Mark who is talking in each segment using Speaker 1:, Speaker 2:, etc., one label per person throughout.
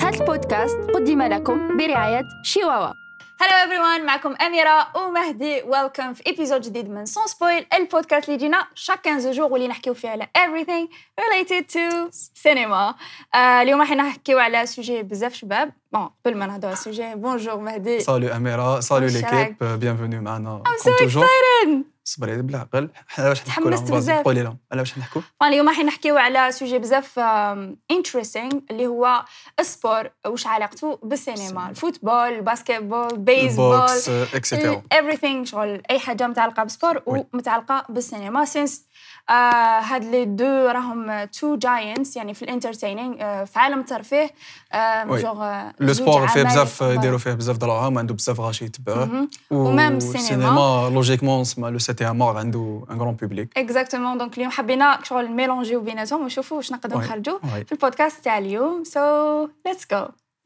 Speaker 1: قناة البودكاست قدم لكم برعاية شيواوا
Speaker 2: هلو ايفريوان معكم اميره ومهدي ويلكم في ايبيزود جديد من سون سبويل البودكاست اللي جينا شاك 15 جور واللي نحكيو فيه على everything related to cinema آه اليوم راح نحكيو على سوجي بزاف شباب بون قبل ما نهضروا على السوجي بونجور مهدي
Speaker 3: سالو اميره سالو ليكيب بيانفوني معنا
Speaker 2: I'm so
Speaker 3: صبري بالعقل على واش نحكوا
Speaker 2: تحمست بزاف.
Speaker 3: قولي لهم على واش نحكوا
Speaker 2: فأنا اليوم راح نحكيو على سوجي بزاف انتريستينغ اللي هو السبور وش علاقته بالسينما
Speaker 3: السينما.
Speaker 2: الفوتبول الباسكتبول بيسبول
Speaker 3: البوكس اكسيتيرا
Speaker 2: everything شغل اي حاجه متعلقه بالسبور
Speaker 3: وي.
Speaker 2: ومتعلقه بالسينما سينس آه هاد لي دو راهم تو جاينتس يعني في الانترتينينغ آه في عالم الترفيه آه
Speaker 3: وي.
Speaker 2: جوغ آه،
Speaker 3: لو
Speaker 2: زوج
Speaker 3: سبور فيه
Speaker 2: عمالقة.
Speaker 3: بزاف يديروا فيه بزاف دراهم عنده بزاف غاشي يتبعوه
Speaker 2: مهم. ومام السينما.
Speaker 3: لوجيكمون سما لو سي تي مور عنده ان غران بوبليك
Speaker 2: اكزاكتومون دونك اليوم حبينا شغل ميلونجيو بيناتهم ونشوفوا واش نقدروا
Speaker 3: وي.
Speaker 2: نخرجوا
Speaker 3: وي.
Speaker 2: في البودكاست تاع اليوم سو ليتس جو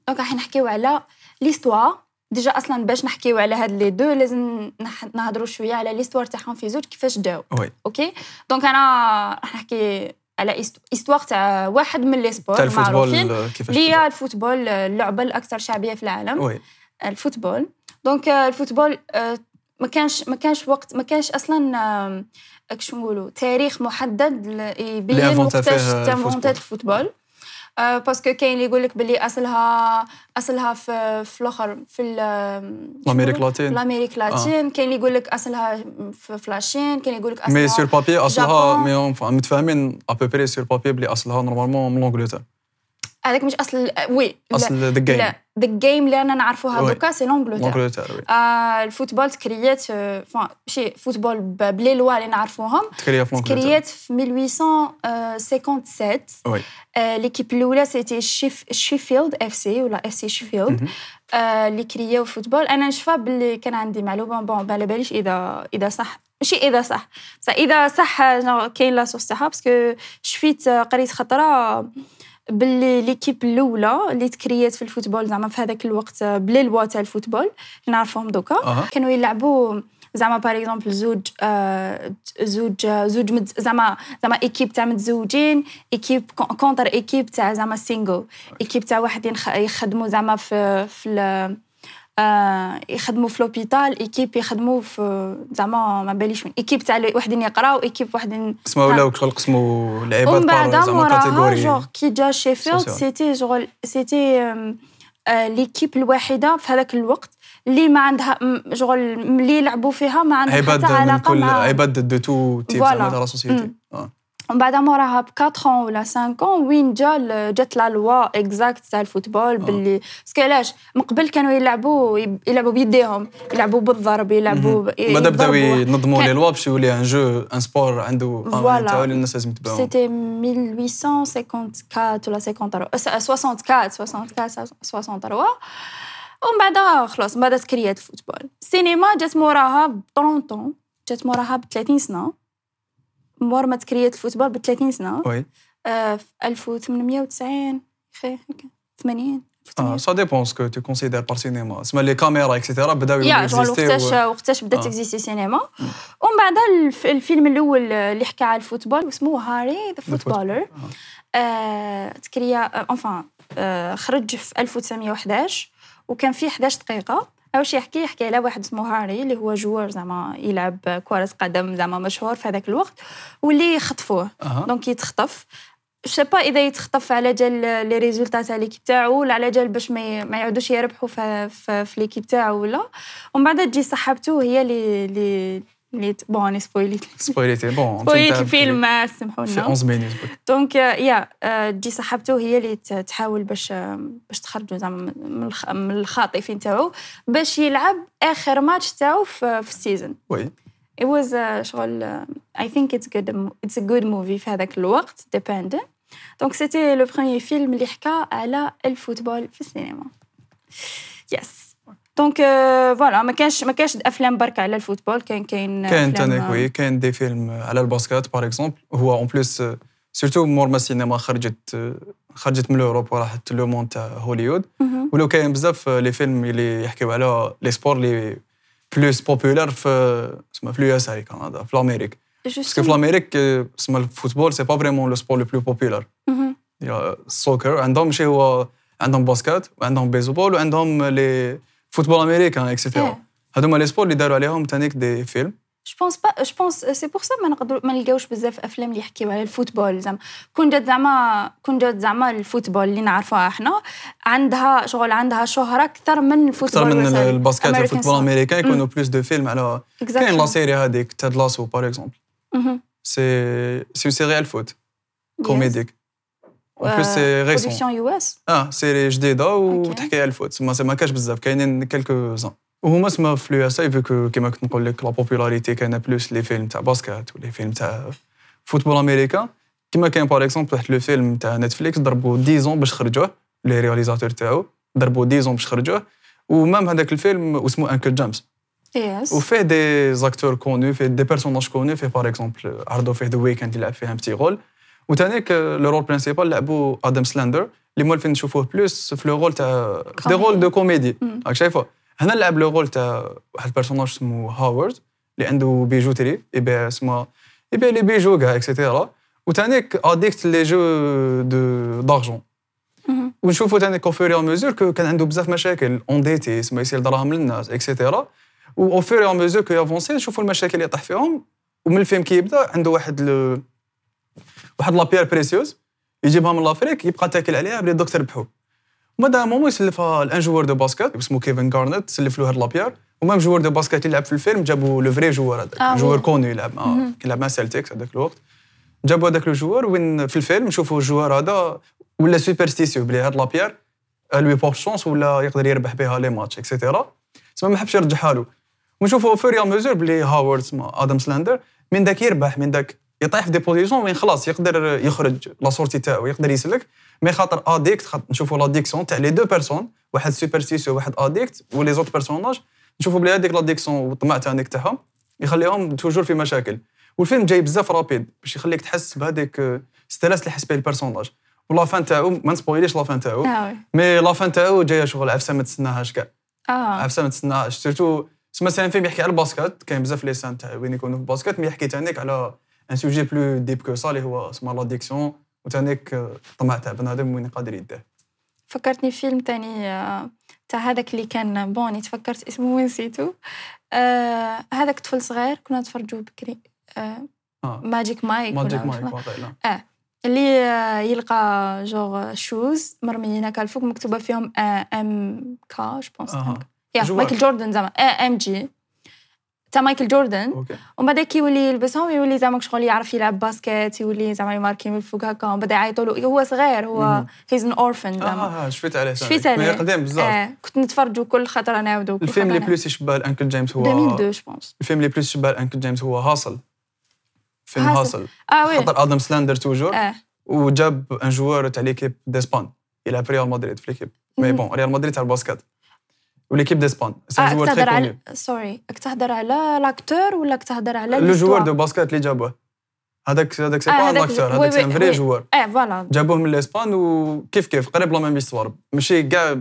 Speaker 2: دونك راح نحكيو على ليستوار ديجا اصلا باش نحكيو على هاد لي دو لازم نح- نهضروا شويه على ليستوار تاعهم في زوج كيفاش داو
Speaker 3: وي
Speaker 2: اوكي دونك انا راح نحكي على استواغ تاع واحد من لي سبور
Speaker 3: تاع
Speaker 2: المعروفين
Speaker 3: الفوتبول كيفاش
Speaker 2: اللي
Speaker 3: تبدا.
Speaker 2: هي الفوتبول اللعبه الاكثر شعبيه في العالم
Speaker 3: وي
Speaker 2: الفوتبول دونك آه، الفوتبول آه، ما كانش ما كانش وقت ما كانش اصلا آم، هاك شو نقولوا تاريخ محدد ل-
Speaker 3: اللي
Speaker 2: يبين
Speaker 3: انفونتا
Speaker 2: وقتاش
Speaker 3: فيه
Speaker 2: تم
Speaker 3: الفوتبول.
Speaker 2: انفونتات الفوتبول آه، باسكو كاين اللي يقول لك باللي اصلها اصلها في في الاخر في ال- آم، شو
Speaker 3: لامريك
Speaker 2: نقولوا؟
Speaker 3: لاتين.
Speaker 2: لامريك لاتين كاين اللي يقول لك اصلها في في لا شين كاين اللي يقول لك
Speaker 3: مي سور
Speaker 2: اصلها
Speaker 3: بابي اصلها
Speaker 2: جابون.
Speaker 3: مي اون- فا- متفاهمين ابوبري سور بابي بلي اصلها نورمالمون من لونجلتر
Speaker 2: هذاك مش اصل وي لا،
Speaker 3: اصل ذا جيم
Speaker 2: لا ذا جيم اللي انا نعرفوها
Speaker 3: وي.
Speaker 2: دوكا سي لونجلتير
Speaker 3: لونجلتر وي
Speaker 2: آه الفوتبول تكريات آه، فون ماشي فوتبول ب- بلي لوا اللي نعرفوهم
Speaker 3: تكريا في لونجلتر
Speaker 2: تكريات في آه، 1857
Speaker 3: وي
Speaker 2: آه ليكيب الاولى سيتي شيف شيفيلد اف سي ولا اف سي شيفيلد آه اللي كرياو الفوتبول انا نشفى باللي كان عندي معلومه بون ما على باليش اذا اذا صح ماشي اذا صح بصح اذا صح جونغ كاين لا سورس تاعها باسكو شفيت آه، قريت خطره باللي ليكيب الاولى اللي تكريات في الفوتبول زعما في هذاك الوقت آه، بلي لوا تاع الفوتبول اللي نعرفهم دوكا
Speaker 3: اها
Speaker 2: كانوا يلعبوا زعما باغ اكزومبل زوج آه، زوج آه، زوج مد زعما زعما ايكيب تاع متزوجين ايكيب كون- كونتر ايكيب تاع زعما سينجل ايكيب تاع واحد ينخ- يخدموا زعما في في ال- آه، يخدموا في لوبيتال ايكيب يخدموا في زعما ما باليش وين ايكيب تاع ل- واحد يقرا وايكيب واحد
Speaker 3: اسمها ولاو شغل قسموا لعيبات
Speaker 2: ومن بعد
Speaker 3: بار زعما
Speaker 2: موراها
Speaker 3: كاتيجوري
Speaker 2: جوغ كي جا شيفيلد
Speaker 3: سوسيال.
Speaker 2: سيتي جوغ سيتي آم، آه، ليكيب الوحيده في هذاك الوقت اللي ما عندها م- جوغ اللي يلعبوا فيها ما عندها
Speaker 3: عباد
Speaker 2: حتى
Speaker 3: من
Speaker 2: علاقه
Speaker 3: كل
Speaker 2: مع
Speaker 3: عباد دو تو تيب
Speaker 2: Voilà.
Speaker 3: زعما تاع لا سوسيتي
Speaker 2: Mm. ومن بعد موراها ب 4 ans ولا 5 ans euh, وين جا ال- جات لا لوا اكزاكت تاع الفوتبول باللي باسكو علاش من قبل كانوا يلعبوا يلعبوا بيديهم يلعبوا بالضرب يلعبوا ب-
Speaker 3: بعد بداو
Speaker 2: يضربوا.
Speaker 3: ينظموا
Speaker 2: كان-
Speaker 3: لي لوا باش يولي ان جو ان سبور عنده قوانين
Speaker 2: Voilà.
Speaker 3: تاعو اللي الناس لازم يتبعوهم
Speaker 2: C'était 1854 ولا 53 أه، 64 64 63 ومن بعد خلاص من بعد تكريات الفوتبول السينما جات موراها ب 30 طون جات موراها ب 30 سنه مور ما تكريات الفوتبول ب 30 سنه
Speaker 3: وي
Speaker 2: أه، في 1890 خي هكا 80
Speaker 3: آه،
Speaker 2: 1800.
Speaker 3: سا ديبون سكو تو كونسيدير بار سينما اسما لي كاميرا اكسيتيرا بداو
Speaker 2: يا شغل وقتاش
Speaker 3: يكزيستيو
Speaker 2: وقتاش بدات
Speaker 3: آه.
Speaker 2: تكزيستي سينما ومن بعد الف- الفيلم الاول اللي حكى على الفوتبول اسمه هاري ذا فوتبولر آه، تكريا آه، انفان آه، خرج في 1911 وكان فيه 11 دقيقة أول شي يحكي يحكي على واحد اسمه هاري اللي هو جوار زعما يلعب كرة قدم زعما مشهور في هذاك الوقت واللي خطفوه
Speaker 3: أها.
Speaker 2: دونك يتخطف شابا اذا يتخطف على جال لي ريزولتا تاع ليكيب تاعو ولا على جال باش ما ي- ما يعودوش يربحوا في في, في ليكيب تاعو ولا ومن بعد تجي صاحبته هي اللي اللي اللي ت- بون أنا سبويليت
Speaker 3: سبويليتي بون
Speaker 2: سبويليت الفيلم سامحونا
Speaker 3: في 11 مينيت
Speaker 2: دونك آه، يا آه، تجي صاحبته هي اللي ت- تحاول باش آه، باش تخرجوا زعما من- من الخ- من الخاطفين تاعو باش يلعب اخر ماتش تاعو في في السيزون
Speaker 3: وي
Speaker 2: it was آه، شغل اي ثينك اتس جود اتس جود موفي في هذاك الوقت ديباند دونك سيتي لو بروميي فيلم اللي حكى على الفوتبول في السينما يس دونك فوالا ما كانش ما كانش افلام برك على الفوتبول كان كاين
Speaker 3: كاين
Speaker 2: أفلام،
Speaker 3: تانيك
Speaker 2: آه،
Speaker 3: وي كاين دي فيلم على الباسكات باغ اكزومبل هو اون بليس سيرتو مور ما السينما خرجت آه، خرجت من اوروب وراحت لو مون تاع هوليوود
Speaker 2: مهم.
Speaker 3: ولو كاين بزاف لي فيلم اللي يحكيو على لي سبور اللي بلوس بوبولار في تسمى في اليو اس اي كندا في لامريك باسكو في
Speaker 2: آه، justement.
Speaker 3: لامريك
Speaker 2: Mhm.
Speaker 3: تسمى الفوتبول سي با فريمون لو سبور لو بلو بوبولار
Speaker 2: مهم.
Speaker 3: السوكر عندهم ماشي هو عندهم باسكت وعندهم بيسبول وعندهم لي فوتبول امريكان اكسيتيرا هذوما لي سبور اللي داروا عليهم تانيك دي فيلم
Speaker 2: جو بونس با جو بونس سي بور سا ما نقدروا ما نلقاوش بزاف افلام اللي يحكيو على الفوتبول زعما كون جات زعما كون جات زعما الفوتبول اللي نعرفوها احنا عندها شغل عندها شهره اكثر من الفوتبول
Speaker 3: اكثر من
Speaker 2: وسائل.
Speaker 3: الباسكت
Speaker 2: American
Speaker 3: الفوتبول
Speaker 2: soccer.
Speaker 3: الامريكان يكونوا بلوس دو فيلم على كاين لا
Speaker 2: Exactly.
Speaker 3: سيري هذيك تاد لاسو باغ اكزومبل
Speaker 2: Mhm.
Speaker 3: سي سي سيري على الفوت
Speaker 2: Yes.
Speaker 3: كوميديك اون بلوس سي ريسون
Speaker 2: برودكسيون يو اس
Speaker 3: اه سيري جديده وتحكي
Speaker 2: أوكي.
Speaker 3: على الفوت تسمى ما كاش بزاف كاينين كيلكو زون وهما تسمى في لو اس اي فيكو كيما كنت نقول لك لا بوبولاريتي كان بلوس لي فيلم تاع باسكت ولي فيلم تاع فوتبول امريكان كيما كان باغ اكزومبل واحد لو فيلم تاع نتفليكس ضربوا 10 باش خرجوه لي رياليزاتور تاعو ضربوا 10 باش خرجوه ومام هذاك الفيلم واسمه انكل جامس
Speaker 2: يس
Speaker 3: وفيه دي زاكتور كونو فيه دي بيرسوناج كونو فيه باغ اكزومبل عرضوا فيه ذا ويكند يلعب فيه ان بتي رول وتانيك لو رول برينسيبال لعبوا ادم سلاندر اللي موالفين نشوفوه بلوس في لو رول تاع في دي رول دو كوميدي
Speaker 2: مم.
Speaker 3: راك شايفه هنا لعب لو رول تاع واحد البيرسوناج اسمه هاورد اللي عنده بيجوتري يبيع اسمه يبيع لي بيجو كاع اكسيتيرا وتانيك اديكت لي جو دو دارجون
Speaker 2: مهم.
Speaker 3: ونشوفوا تاني كو فيري ميزور كو كان عنده بزاف مشاكل اونديتي تسمى يسيل دراهم للناس اكسيتيرا و او فيري ميزور كو يافونسي نشوفوا المشاكل اللي طاح فيهم ومن الفيلم كي يبدا عنده واحد ال... واحد لا بيير بريسيوز يجيبها من لافريك يبقى تاكل عليها بلي الدكتور بحو ومادا ان مومون يسلفها الان جوار دو باسكت اسمه كيفن غارنت سلف له هاد لا بيير ومام جوار دو باسكت اللي يلعب في الفيلم جابوا لو فري جوار هذاك
Speaker 2: آه،
Speaker 3: جوار
Speaker 2: وي.
Speaker 3: كونو يلعب مع كي يلعب مع سيلتيكس هذاك الوقت جابوا هذاك لو جوار وين في الفيلم نشوفوا الجوار هذا ولا سوبرستيسيو بلي هاد لا بيير لوي بور شونس ولا يقدر يربح بها لي ماتش اكسيتيرا تسمى ما حبش يرجعها له ونشوفوا فوريا ميزور بلي هاورد تسمى ادم سلاندر من داك يربح من داك يطيح في دي بوزيسيون وين خلاص يقدر يخرج لا سورتي تاعو يقدر يسلك مي خاطر اديكت خاطر نشوفوا لاديكسيون تاع لي دو بيرسون واحد سوبرستيسيو واحد اديكت ولي زوت بيرسوناج نشوفوا بلي هذيك لاديكسيون والطمع تاع هذيك تاعهم يخليهم توجور في مشاكل والفيلم جاي بزاف رابيد باش يخليك تحس بهذاك آه، ستريس اللي حس به البيرسوناج ولا فان تاعو ما نسبويليش لا فان تاعو
Speaker 2: اه وي.
Speaker 3: مي لا فان تاعو جايه شغل عفسه ما تسناهاش كاع
Speaker 2: اه
Speaker 3: عفسه ما تسناهاش سيرتو سما سان فيلم يحكي على الباسكت كاين بزاف لي سان تاع وين يكونوا في الباسكت مي يحكي تانيك على ان سوجي بلو ديب كو سا اللي هو اسمه لاديكسيون وتانيك آه، الطمع تاع بنادم وين قادر يديه
Speaker 2: فكرتني فيلم تاني آه، تاع هذاك اللي كان بوني تفكرت اسمه ونسيتو آه هذاك طفل صغير كنا نتفرجوا بكري آه
Speaker 3: آه.
Speaker 2: ماجيك مايك
Speaker 3: ماجيك
Speaker 2: ولا-
Speaker 3: مايك واقع لا
Speaker 2: اللي آه، يلقى جوغ شوز مرميين هكا الفوق مكتوبه فيهم ام كا جو بونس
Speaker 3: أها.
Speaker 2: يا
Speaker 3: جوار.
Speaker 2: مايكل جوردن زعما ام جي تاع مايكل جوردن
Speaker 3: اوكي
Speaker 2: ومن بعد كيولي يلبسهم يولي زعما شغل يعرف يلعب باسكت يولي زعما يماركي من الفوق هكا ومن بعد يعيطوا له هو صغير هو
Speaker 3: مم.
Speaker 2: هيز ان اورفن زعما
Speaker 3: اه آه، شفت عليه
Speaker 2: شفيت
Speaker 3: تانيك. مي
Speaker 2: عليه.
Speaker 3: قديم بزاف
Speaker 2: آه كنت نتفرجوا كل خطره نعاودوا كل
Speaker 3: الفيلم
Speaker 2: خطرة
Speaker 3: اللي
Speaker 2: نعاودو.
Speaker 3: بلوس يشبه الانكل جيمس هو
Speaker 2: 2002 جو بونس
Speaker 3: الفيلم اللي بلوس يشبه الانكل جيمس هو هاسل فيلم
Speaker 2: هاسل.
Speaker 3: هاسل
Speaker 2: اه وي
Speaker 3: خاطر ادم سلاندر توجور
Speaker 2: اه
Speaker 3: وجاب ان جوار تاع ليكيب ديسبان يلعب في ريال مدريد في ليكيب مي
Speaker 2: مم.
Speaker 3: بون ريال مدريد تاع الباسكت وليكيب ديسبان سي
Speaker 2: آه،
Speaker 3: ان جوار تري
Speaker 2: كتهضر على
Speaker 3: كوني
Speaker 2: سوري كتهضر على لاكتور ولا كتهضر على
Speaker 3: لو جوار
Speaker 2: l'histoire
Speaker 3: دو باسكت اللي جابوه هذاك هذاك سي
Speaker 2: آه،
Speaker 3: با ان
Speaker 2: هذاك
Speaker 3: اكتور
Speaker 2: ج- وي-
Speaker 3: هذاك سي ان
Speaker 2: وي-
Speaker 3: فري
Speaker 2: وي.
Speaker 3: جوار
Speaker 2: اه فوالا
Speaker 3: جابوه من الاسبان وكيف كيف قريب لا ميم ايستوار ماشي كاع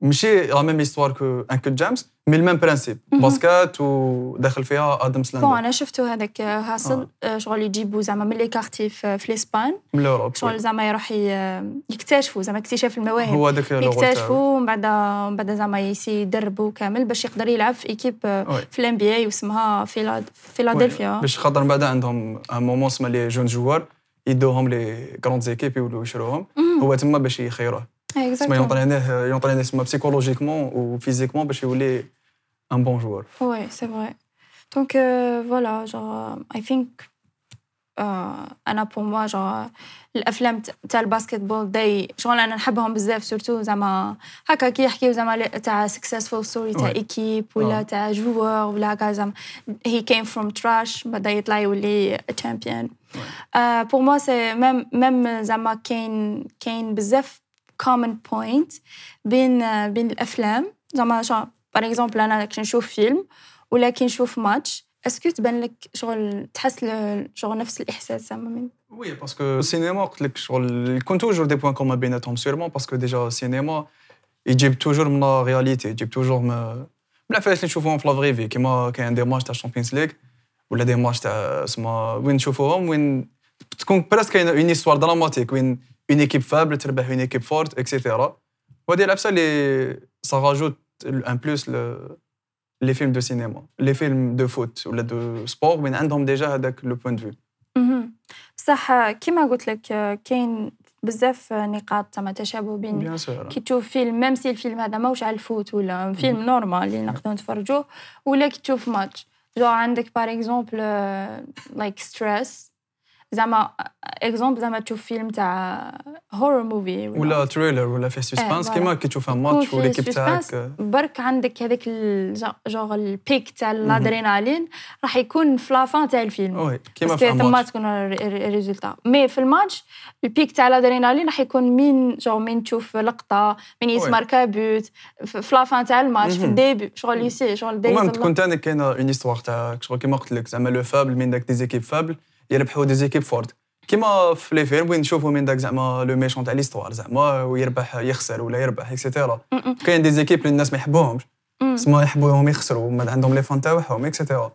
Speaker 3: ماشي لا ميم ايستوار كو انكل جيمس مي الميم برانسيب
Speaker 2: مهم.
Speaker 3: باسكت وداخل فيها ادم
Speaker 2: بون
Speaker 3: سلاندر
Speaker 2: انا شفتو هذاك آه، هاسل آه، شغل يجيبو زعما من لي كارتي في في الاسبان
Speaker 3: من الاوروب
Speaker 2: شغل زعما يروح ي- euh, يكتشفوا زعما اكتشاف المواهب
Speaker 3: هو هذاك لو رول تاعو.
Speaker 2: يكتشفوا ومن بعد من بعد زعما يسي يدربوا كامل باش يقدر يلعب في ايكيب آه،
Speaker 3: وي.
Speaker 2: في الان بي اي واسمها فيلاد-
Speaker 3: وي،
Speaker 2: فيلادلفيا
Speaker 3: باش خاطر من بعد عندهم ان مومون سما لي جون جوار يدوهم لي كروند زيكيب يولوا يشروهم
Speaker 2: مم.
Speaker 3: هو تما باش يخيروه
Speaker 2: آه،
Speaker 3: تما
Speaker 2: Mm. exactement.
Speaker 3: يونطرينيه يونطرينيه تما بسيكولوجيكمون وفيزيكمون باش يولي ان بون جوار
Speaker 2: Ouais, c'est vrai. Donc euh, voilà, genre, euh, I think, euh, أنا pour moi, genre, الأفلام ت- تاع الباسكتبول they شغل أنا نحبهم بزاف سورتو زعما هكا كي يحكيو زعما ل- تاع successful story تاع
Speaker 3: Ouais.
Speaker 2: إيكيب ولا
Speaker 3: آه.
Speaker 2: تاع جوار ولا هكا زعما he came from trash بدا يطلع يولي champion. آه، pour moi c'est même même زعما كاين كاين بزاف common point بين آه، بين الافلام زعما شا باغ اكزومبل انا كي نشوف فيلم ولا كي نشوف ماتش اسكو تبان لك شغل تحس ل- شغل نفس الاحساس زعما من
Speaker 3: وي باسكو السينما قلت لك شغل يكون توجور دي بوان كومون بيناتهم سيرمون باسكو ديجا السينما يجيب توجور من لا رياليتي يجيب توجور من من العفايس اللي نشوفوهم في لافغي في كيما كاين دي ماتش تاع الشامبيونز ليغ ولا دي ماتش تاع اسمها وين نشوفوهم وين تكون بريسك كاين اون ايستوار دراماتيك وين اون ايكيب فابل تربح اون ايكيب فورت اكسيتيرا وهذه العفسه اللي سا راجوت ان بلوس ل- لي فيلم دو سينما لي فيلم دو فوت ولا دو سبور من عندهم ديجا هذاك لو بوين دو
Speaker 2: مهم. بصح آه، كيما قلت لك آه، كاين بزاف آه، نقاط تما تشابه بين
Speaker 3: بيان سور
Speaker 2: كي تشوف فيلم ميم سي الفيلم هذا ماهوش على الفوت ولا فيلم نورمال اللي نقدروا نتفرجوه ولا كي تشوف ماتش جو عندك بار اكزومبل لايك ستريس زعما اكزومبل زعما تشوف فيلم تاع هورر موفي
Speaker 3: ولا تريلر ولا فيه سسبانس
Speaker 2: Eh, voilà.
Speaker 3: كيما كي تشوف ان ماتش
Speaker 2: فيه
Speaker 3: والاكيب
Speaker 2: suspense.
Speaker 3: تاعك آه،
Speaker 2: برك عندك هذاك جوغ البيك تاع الادرينالين راح يكون في لافان تاع الفيلم
Speaker 3: وي كيما
Speaker 2: باسكو
Speaker 3: في ان
Speaker 2: ثما
Speaker 3: ماتش
Speaker 2: تكون الر- الر- الريزولتا مي في الماتش البيك تاع الادرينالين راح يكون من جو من تشوف لقطه من يسمر كابوت في في لافان تاع الماتش في
Speaker 3: مهم.
Speaker 2: الديبي شغل يسي شغل دايز
Speaker 3: ومام
Speaker 2: الله.
Speaker 3: تكون تاني كاينه اون هيستوار تاع شغل كيما قلت لك زعما لو فابل من داك ديزيكيب فابل يربحوا ديزيكيب فورد كيما في لي فيلم وين نشوفوا من داك زعما لو ميشون تاع ليستوار زعما ويربح يخسر ولا يربح اكسيتيرا
Speaker 2: م- م-
Speaker 3: كاين ديزيكيب اللي الناس ما يحبوهمش
Speaker 2: م.
Speaker 3: سما يحبوهم يخسروا وما عندهم لي فان تاعهم اكسيتيرا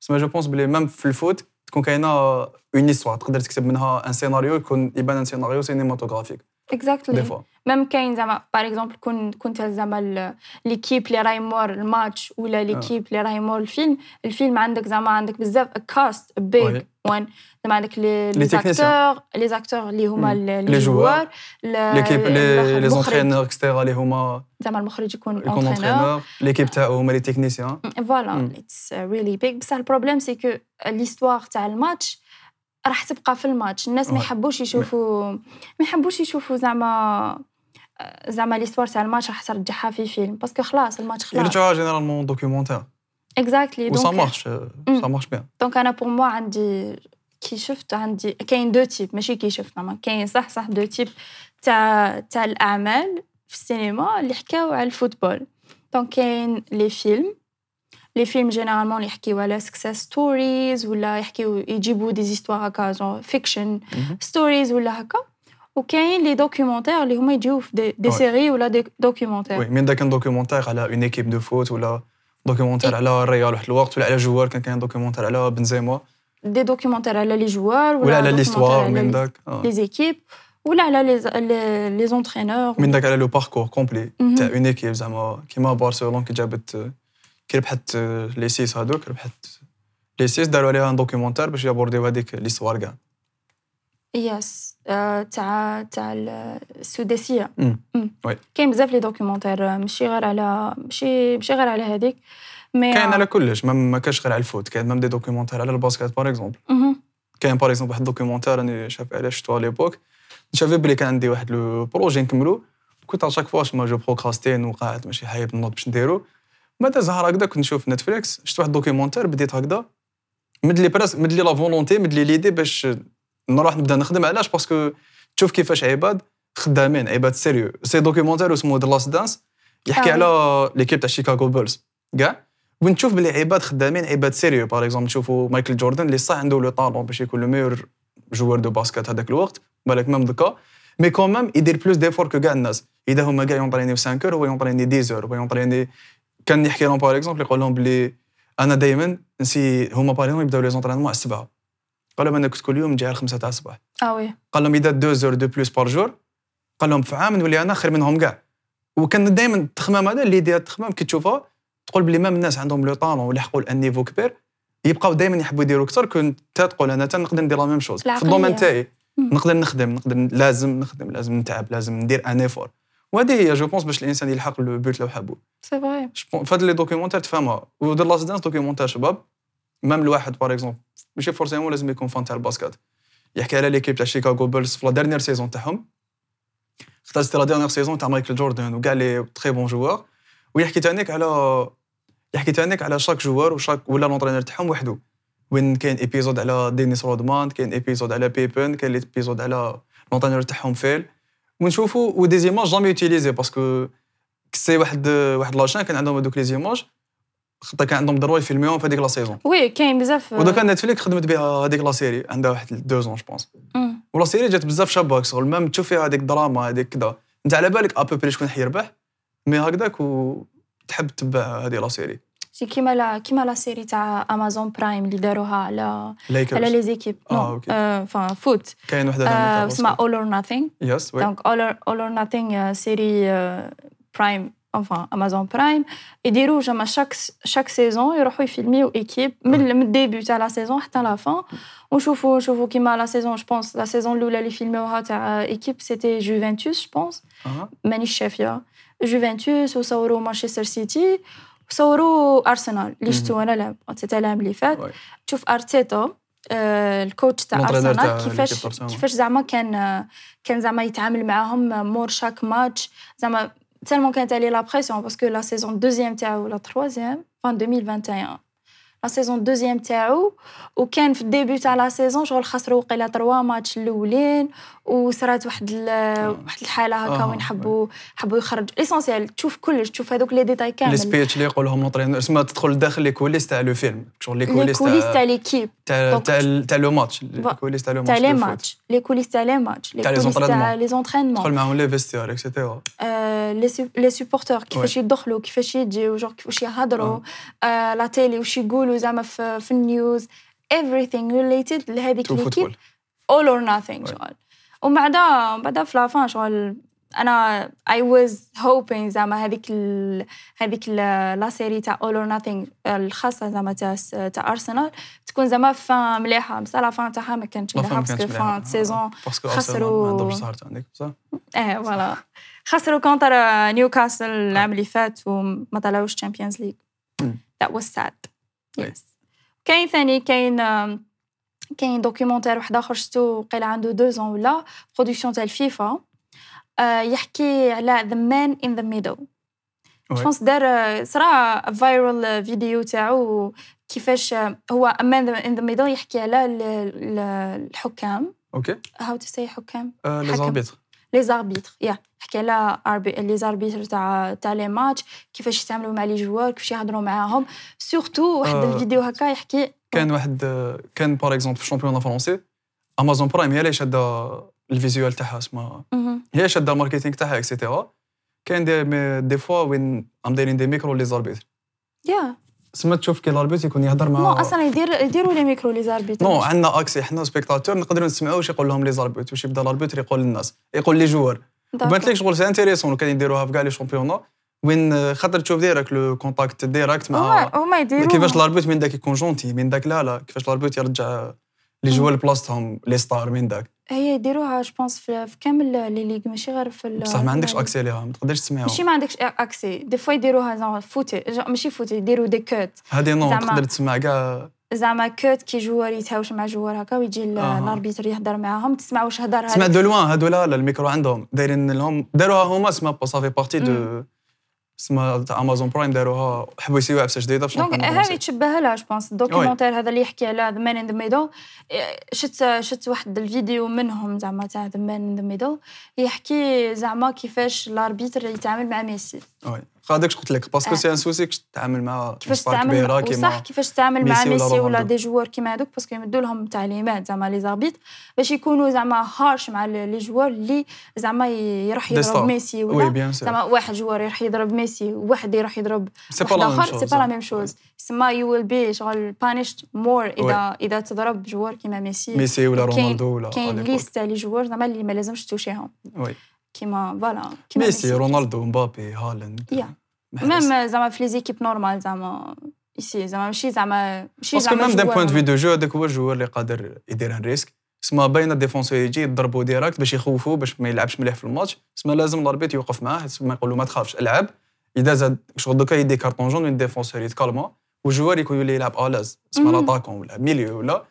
Speaker 3: سما جو بونس بلي ميم في الفوت تكون كاينه اون هيستوار تقدر تكتب منها ان سيناريو يكون يبان ان سيناريو سينيماتوغرافيك دي
Speaker 2: اكزاكتلي
Speaker 3: فوا
Speaker 2: ميم كاين زعما باغ اكزومبل كون كنت زعما ال- ليكيب اللي راهي مور الماتش
Speaker 3: آه.
Speaker 2: ولا ليكيب اللي راهي مور الفيلم الفيلم عندك زعما عندك بزاف كاست بيج
Speaker 3: وي.
Speaker 2: وان زعما عندك لي لي
Speaker 3: techniciens.
Speaker 2: زاكتور لي زاكتور اللي هما
Speaker 3: مم.
Speaker 2: ال-
Speaker 3: Les
Speaker 2: لي جوار
Speaker 3: ليكيب
Speaker 2: Euh,
Speaker 3: لي لي
Speaker 2: المخرج.
Speaker 3: زونترينور اكسيتيرا اللي هما
Speaker 2: زعما المخرج يكون
Speaker 3: يكون
Speaker 2: اونترينور
Speaker 3: اونترينور ليكيب تاعو هما لي تكنيسيان
Speaker 2: فوالا
Speaker 3: مم.
Speaker 2: اتس ريلي بيج uh, بصح البروبليم سي كو ليستواغ تاع الماتش راح تبقى في الماتش الناس ما
Speaker 3: Ouais.
Speaker 2: يحبوش يشوفوا ما يحبوش يشوفوا زعما زعما ليستوار تاع الماتش راح ترجعها في فيلم باسكو خلاص الماتش خلاص
Speaker 3: يرجعوها جينيرالمون دوكيومونتير
Speaker 2: اكزاكتلي
Speaker 3: وسا
Speaker 2: دونك
Speaker 3: مارش
Speaker 2: مم.
Speaker 3: سا مارش بيان
Speaker 2: دونك انا بور موا عندي كي شفت عندي كاين دو تيب ماشي كي شفت زعما كاين صح صح دو تيب تاع تاع الاعمال في السينما اللي حكاو على الفوتبول دونك كاين لي فيلم لي فيلم جينيرالمون اللي يحكيو على سكسيس ستوريز ولا يحكيو يجيبوا دي زيستوار هكا جون فيكشن
Speaker 3: مهم.
Speaker 2: ستوريز ولا هكا وكاين لي دوكيومونتير اللي هما يجيو في دي, دي
Speaker 3: Ouais.
Speaker 2: سيري ولا دي دوكيومونتير
Speaker 3: وي من داك ان دوكيومونتير على اون ايكيب دو فوت ولا دوكيومونتير على الريال واحد الوقت ولا على جوار كان كاين دوكيومونتير على بنزيما
Speaker 2: دي دوكيومونتير على لي جوار
Speaker 3: ولا على
Speaker 2: دوكيومونتير
Speaker 3: ليستوار
Speaker 2: على
Speaker 3: من
Speaker 2: لي-
Speaker 3: داك
Speaker 2: euh,
Speaker 3: آه.
Speaker 2: les équipes ou là là les les, les entraîneurs Mhm.
Speaker 3: من داك على لو باركور كومبلي
Speaker 2: مهم.
Speaker 3: تاع اون ايكيب زعما كيما برشلونه كي جابت آه، كي ربحت آه، لي سيس هادوك ربحت لي سيس داروا عليها ان دوكيومونتير باش يابورديو هذيك ليستوار كاع
Speaker 2: yes آه، تاع تاع ال- السداسيه
Speaker 3: مم.
Speaker 2: مم.
Speaker 3: وي.
Speaker 2: كاين بزاف لي دوكيومونتير آه، ماشي غير على ماشي ماشي غير على هذيك مي
Speaker 3: كاين على كلش ما- ما كاش غير على الفوت كاين ميم دي دوكيومونتير على الباسكت باغ اكزومبل
Speaker 2: مهم.
Speaker 3: كاين باغ اكزومبل واحد الدوكيومونتير راني شاف عليه شفتو على ليبوك شافي بلي كان عندي واحد لو بروجي نكملو كنت على شاك فوا ما جو بروكراستين وقاعد ماشي حايب نوض باش نديرو متى زهر هكذا كنت نشوف نتفليكس شفت واحد دوكيومونتير بديت هكذا مدلي براس مدلي لا فولونتي مدلي ليدي باش نروح نبدا نخدم علاش باسكو تشوف كيفاش عباد خدامين عباد سيريو سي دوكيومونتير اسمه ذا لاست دانس يحكي
Speaker 2: آه.
Speaker 3: على ليكيب تاع شيكاغو بولز كاع ونشوف بلي عباد خدامين عباد سيريو باغ اكزومبل نشوفوا مايكل جوردن اللي صح عنده لو طالون باش يكون لو ميور جوار دو باسكت هذاك الوقت بالك ميم دوكا مي كون ميم يدير بلوس ديفور كو كاع الناس اذا هما كاع يونطرينيو 5 اور هو يونطريني 10 اور هو يونطريني كان يحكي لهم باغ اكزومبل يقول لهم بلي انا دائما نسي هما باغ اكزومبل يبداو لي زونطرينمون على 7 قال لهم انا كنت كل يوم نجي على 5 تاع الصباح
Speaker 2: اه وي
Speaker 3: قال لهم اذا دو زور دو بلوس بار جور قال لهم في عام نولي انا خير منهم كاع وكان دائما التخمام هذا اللي ديال التخمام كي تشوفها تقول بلي مام الناس عندهم لو طالون ولحقوا الان نيفو كبير يبقاو دائما يحبوا يديروا اكثر كنت تقول انا تا نقدر ندير لا ميم شوز في
Speaker 2: العقلية.
Speaker 3: الدومين تاعي
Speaker 2: مم.
Speaker 3: نقدر نخدم نقدر ن- لازم نخدم لازم نتعب لازم ندير ان ايفور وهذه هي جو بونس باش الانسان يلحق لو بوت لو حبو
Speaker 2: سي فري
Speaker 3: Je pense- فهاد لي دوكيومونتير تفهمها ودير لاست دانس دوكيومونتير شباب مام الواحد باغ اكزومبل ماشي فورسيمون لازم يكون فان تاع الباسكت يحكي على ليكيب تاع شيكاغو بولز في لا ديرنيير سيزون تاعهم خاطر سيتي لا ديرنيير سيزون تاع مايكل جوردن وكاع لي تخي بون جوار ويحكي تانيك على يحكي تانيك على شاك جوار وشاك ولا لونترينور تاعهم وحده وين كاين ايبيزود على دينيس رودمان كاين ايبيزود على بيبن كاين ايبيزود على لونترينور تاعهم فيل ونشوفوا ودي زيماج جامي يوتيليزي باسكو سي واحد واحد لاشين كان عندهم هذوك لي زيماج خاطر كان عندهم دروا يفيلميوهم في هذيك لا سيزون
Speaker 2: وي كاين بزاف
Speaker 3: ودوكا نتفليك خدمت بها هذيك لا سيري عندها واحد دو زون جو بونس
Speaker 2: مم.
Speaker 3: ولا سيري جات بزاف شابه شغل مام تشوف فيها هذيك الدراما هذيك كذا انت على بالك ابوبري شكون حيربح مي هكذاك وتحب تتبع هذه لا سيري
Speaker 2: شي كيما لا كيما لا سيري تاع امازون برايم اللي داروها على على
Speaker 3: لايكرز
Speaker 2: لي زيكيب
Speaker 3: آه،
Speaker 2: نو
Speaker 3: أوكي.
Speaker 2: فان فوت
Speaker 3: كاين وحده
Speaker 2: آه،
Speaker 3: ثانية تاع
Speaker 2: اسمها
Speaker 3: باسكت.
Speaker 2: اول اور ناثينغ
Speaker 3: يس وي
Speaker 2: دونك اول اور اول اور ناثينغ سيري برايم انفان امازون برايم يديروا زعما شاك شاك سيزون يروحوا يفيلميو ايكيب من من الديبي تاع لا سيزون حتى لا فان ونشوفوا نشوفوا كيما لا سيزون جو بونس لا سيزون الاولى اللي فيلموها تاع ايكيب سيتي جوفنتوس جو بونس
Speaker 3: أها.
Speaker 2: مانيش شافيه جوفنتوس وصوروا مانشستر سيتي وصوروا ارسنال اللي شفتو انا العام تاع العام اللي فات
Speaker 3: وي.
Speaker 2: تشوف ارتيتا آه، الكوتش تاع
Speaker 3: الانترينور تاع
Speaker 2: ارسنال
Speaker 3: ليكيب
Speaker 2: كيفاش
Speaker 3: أرسنال.
Speaker 2: كيفاش زعما كان آه، كان زعما يتعامل معاهم مور شاك ماتش زعما تالمون كانت عليه لا بريسيون باسكو لا سيزون دوزيام تاعو ولا تروازيام فان 2021 لا سيزون دوزيام تاعو وكان في الديبي تاع لا سيزون شغل خسروا وقيلا تروا ماتش الاولين وصرات واحد ال- واحد الحاله هكا
Speaker 3: آه،
Speaker 2: وين حبوا حبوا يخرج ليسونسيال تشوف كلش تشوف هذوك لي ديتاي
Speaker 3: لي
Speaker 2: كامل
Speaker 3: سبيتش اللي يقولهم لونترينور اسمها تدخل داخل لي كوليس تاع لو فيلم شغل لي
Speaker 2: لي
Speaker 3: كوليس
Speaker 2: كوليس تاع
Speaker 3: تاع
Speaker 2: ليكيب
Speaker 3: تاع
Speaker 2: دونك-
Speaker 3: تاع ال- تاع لو ماتش لي
Speaker 2: فوالا.
Speaker 3: كوليس تاع لو
Speaker 2: تاع
Speaker 3: ماتش
Speaker 2: لي
Speaker 3: دو فوت.
Speaker 2: ماتش لي كوليس تاع لي ماتش لي
Speaker 3: تاع لي
Speaker 2: كوليس تاع
Speaker 3: زونطرينمون.
Speaker 2: لي
Speaker 3: تدخل
Speaker 2: زونترينمون
Speaker 3: معاهم لي فيستيار اكسيتيرا
Speaker 2: آه، لي سو- لي سوبورتور كيفاش يدخلوا كيفاش يجيو جور واش يهضروا آه، لا تيلي واش يقولوا زعما في في النيوز euh, everything related لهذيك
Speaker 3: تو
Speaker 2: ليكيب
Speaker 3: فوتبول
Speaker 2: all or nothing
Speaker 3: Ouais.
Speaker 2: شغل ومن بعدها من بعدها في لافان شغل انا I was hoping زعما هذيك ال... هذيك ال... لا سيري تاع all or nothing الخاصه زعما تاع س- تاع ارسنال تكون زعما فان مليحه بصح لا فان تاعها ما كانتش آه.
Speaker 3: لا فهم
Speaker 2: مليحه
Speaker 3: كانت
Speaker 2: باسكو
Speaker 3: مليحة.
Speaker 2: فان سيزون
Speaker 3: باسكو
Speaker 2: خسروا.
Speaker 3: ارسنال ما عندهمش زهر عندك صح
Speaker 2: ايه فوالا خسروا كونتر آه، نيوكاسل العام اللي فات وما طلعوش تشامبيونز ليغ
Speaker 3: مم.
Speaker 2: ذات واز ساد
Speaker 3: أي.
Speaker 2: يس كاين ثاني كاين آم، كاين دوكيومونتير واحد اخر شفتو وقيل عنده دو زون ولا برودكسيون تاع الفيفا آه، يحكي على ذا مان ان ذا ميدل
Speaker 3: وي.
Speaker 2: جونس دار آه، صرا فايرال فيديو تاعو كيفاش آه، هو مان ان ذا ميدل يحكي على ال- ال- الحكام
Speaker 3: اوكي
Speaker 2: هاو تو سي حكام
Speaker 3: آه، لي
Speaker 2: حكم.
Speaker 3: زاربيتر
Speaker 2: لي زاربيتر يا حكي على أربي... لي زاربيتر تاع تاع لي ماتش كيفاش يتعاملوا مع لي جوار كيفاش يهضروا معاهم سورتو واحد
Speaker 3: آه.
Speaker 2: الفيديو هكا يحكي
Speaker 3: كان واحد آه، كان باغ اكزومبل في الشامبيون فرونسي امازون برايم هي اللي شاده الفيزيوال تاعها اسمها
Speaker 2: مهم.
Speaker 3: هي شاده الماركتينغ تاعها اكسيتيرا كاين دي مي- دي فوا وين عم دايرين دي ميكرو لي زاربيتر
Speaker 2: يا
Speaker 3: سما تشوف كي الاربيتر يكون يهضر مع
Speaker 2: نو اصلا يدير يديروا لي ميكرو لي زاربيتر
Speaker 3: نو عندنا اكسي حنا سبيكتاتور نقدروا نسمعوا واش يقول لهم لي زاربيت واش يبدا الاربيتر يقول للناس يقول لي جوار بانت لك شغل سي انتيريسون كان يديروها في كاع لي شامبيونا وين خاطر تشوف ديريكت لو كونتاكت ديريكت مع
Speaker 2: هما هما يديروا
Speaker 3: كيفاش الاربيت من داك يكون جونتي من داك لا لا كيفاش الاربيت يرجع لي جوار لبلاصتهم لي ستار من داك
Speaker 2: هي يديروها جو بونس في في كامل لي ليغ ماشي غير في ال-
Speaker 3: بصح ما عندكش
Speaker 2: يعني-
Speaker 3: اكسي ليها ما تقدرش تسمعهم
Speaker 2: ماشي ما عندكش اكسي دي فوا يديروها زعما فوتي جو- ماشي فوتي يديروا دي كوت
Speaker 3: هذه نو
Speaker 2: زعما-
Speaker 3: تقدر تسمع كاع
Speaker 2: زعما كوت كي جوار يتهاوش مع جوار هكا ويجي ال-
Speaker 3: آه.
Speaker 2: الاربيتر يهضر معاهم تسمع واش هضر
Speaker 3: تسمع
Speaker 2: هذاك.
Speaker 3: دو لوان هادو لا لا الميكرو عندهم دايرين لهم داروها هما سما صافي بارتي دو سما تاع امازون برايم داروها حبوا يسيوها عفسه جديده في
Speaker 2: دونك
Speaker 3: الشامبيون
Speaker 2: هذه تشبه لها جو بونس الدوكيومونتير هذا اللي يحكي على ذا مان ان ذا ميدل euh, شفت شفت واحد الفيديو منهم زعما تاع ذا مان ان ذا ميدل يحكي زعما كيفاش الاربيتر يتعامل مع ميسي
Speaker 3: وي هذاك قلت لك باسكو
Speaker 2: آه.
Speaker 3: سي ان سوسي كيفاش تتعامل مع
Speaker 2: كيفاش
Speaker 3: مصطلح
Speaker 2: تتعامل
Speaker 3: كبيرة
Speaker 2: مع-
Speaker 3: كيما-
Speaker 2: وصح كيفاش تتعامل مع
Speaker 3: ميسي ولا
Speaker 2: ميسي ولا
Speaker 3: رونالدو.
Speaker 2: دي جوار كيما هذوك باسكو يمدوا لهم تعليمات زعما لي زاربيت باش يكونوا زعما هارش مع لي جوار اللي زعما يروح
Speaker 3: Des stars.
Speaker 2: يضرب ميسي
Speaker 3: وي
Speaker 2: ولا
Speaker 3: بيان سور
Speaker 2: زعما واحد جوار يروح يضرب ميسي وواحد يروح يضرب
Speaker 3: سي با
Speaker 2: واحد
Speaker 3: لا ميم
Speaker 2: اخر سي
Speaker 3: شوز
Speaker 2: با لا ميم شوز سما يو ويل بي شغل بانيشت مور اذا اذا تضرب جوار كيما ميسي آه،
Speaker 3: ميسي ولا
Speaker 2: كاين-
Speaker 3: رونالدو ولا
Speaker 2: كاين
Speaker 3: على
Speaker 2: ليست تاع لي جوار زعما اللي ما لازمش توشيهم
Speaker 3: الإيبوك. وي
Speaker 2: كيما فوالا كيما
Speaker 3: ميسي رونالدو مبابي هالاند
Speaker 2: يا.
Speaker 3: محرز.
Speaker 2: ميم زعما في لي زيكيب نورمال زعما ici زعما ماشي زعما ماشي
Speaker 3: باسكو
Speaker 2: زعما
Speaker 3: ميم دان
Speaker 2: جوار
Speaker 3: بوان في دو جو هذاك هو الجوار اللي قادر يدير ان ريسك سما باين الديفونسور يجي يضربو ديراكت باش يخوفو باش ما يلعبش مليح في الماتش سما لازم الاربيت يوقف معاه سما يقول له ما تخافش العب اذا زاد شغل دوكا يدي كارطون جون من الديفونسور يتكالما والجوار يكون يولي يلعب الاز سما
Speaker 2: مهم.
Speaker 3: لاتاكون ولا ميليو ولا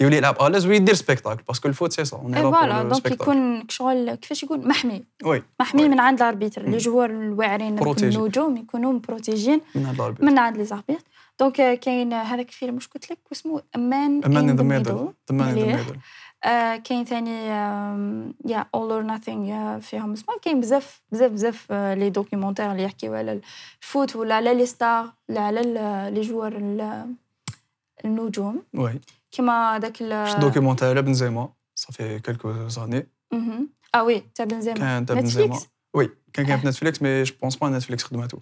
Speaker 3: يولي يلعب الاز ويدير سبيكتاكل باسكو الفوت سي سا اون
Speaker 2: اي فوالا دونك يكون شغل كيفاش يكون محمي
Speaker 3: وي
Speaker 2: محمي
Speaker 3: وي.
Speaker 2: من عند الاربيتر لي جوار الواعرين هذوك
Speaker 3: Protégé.
Speaker 2: النجوم يكونوا مبروتيجين
Speaker 3: من هاد الاربيت
Speaker 2: من عند لي زاربيتر دونك آه، كاين آه، هذاك الفيلم واش قلت لك واسمه مان
Speaker 3: مان
Speaker 2: in
Speaker 3: ان ذا
Speaker 2: the
Speaker 3: ميدل
Speaker 2: Middle.
Speaker 3: مان ان ذا
Speaker 2: مليح.
Speaker 3: ميدل
Speaker 2: آه، كاين ثاني آم، يا اول اور ناثينغ فيهم اسمها كاين بزاف بزاف بزاف آه، لي دوكيومونتير اللي يحكيو على الفوت ولا على لي ستار ولا على ال- لي جوار ال- النجوم
Speaker 3: وي
Speaker 2: كيما داك ال
Speaker 3: شفت دوكيمونتير على بنزيما صافي كيلكو زاني
Speaker 2: مهم. اه وي تاع بنزيما
Speaker 3: كان تاع
Speaker 2: نتفليكس
Speaker 3: بنزيما وي كان كان في نتفليكس مي جو بونس با نتفليكس خدمته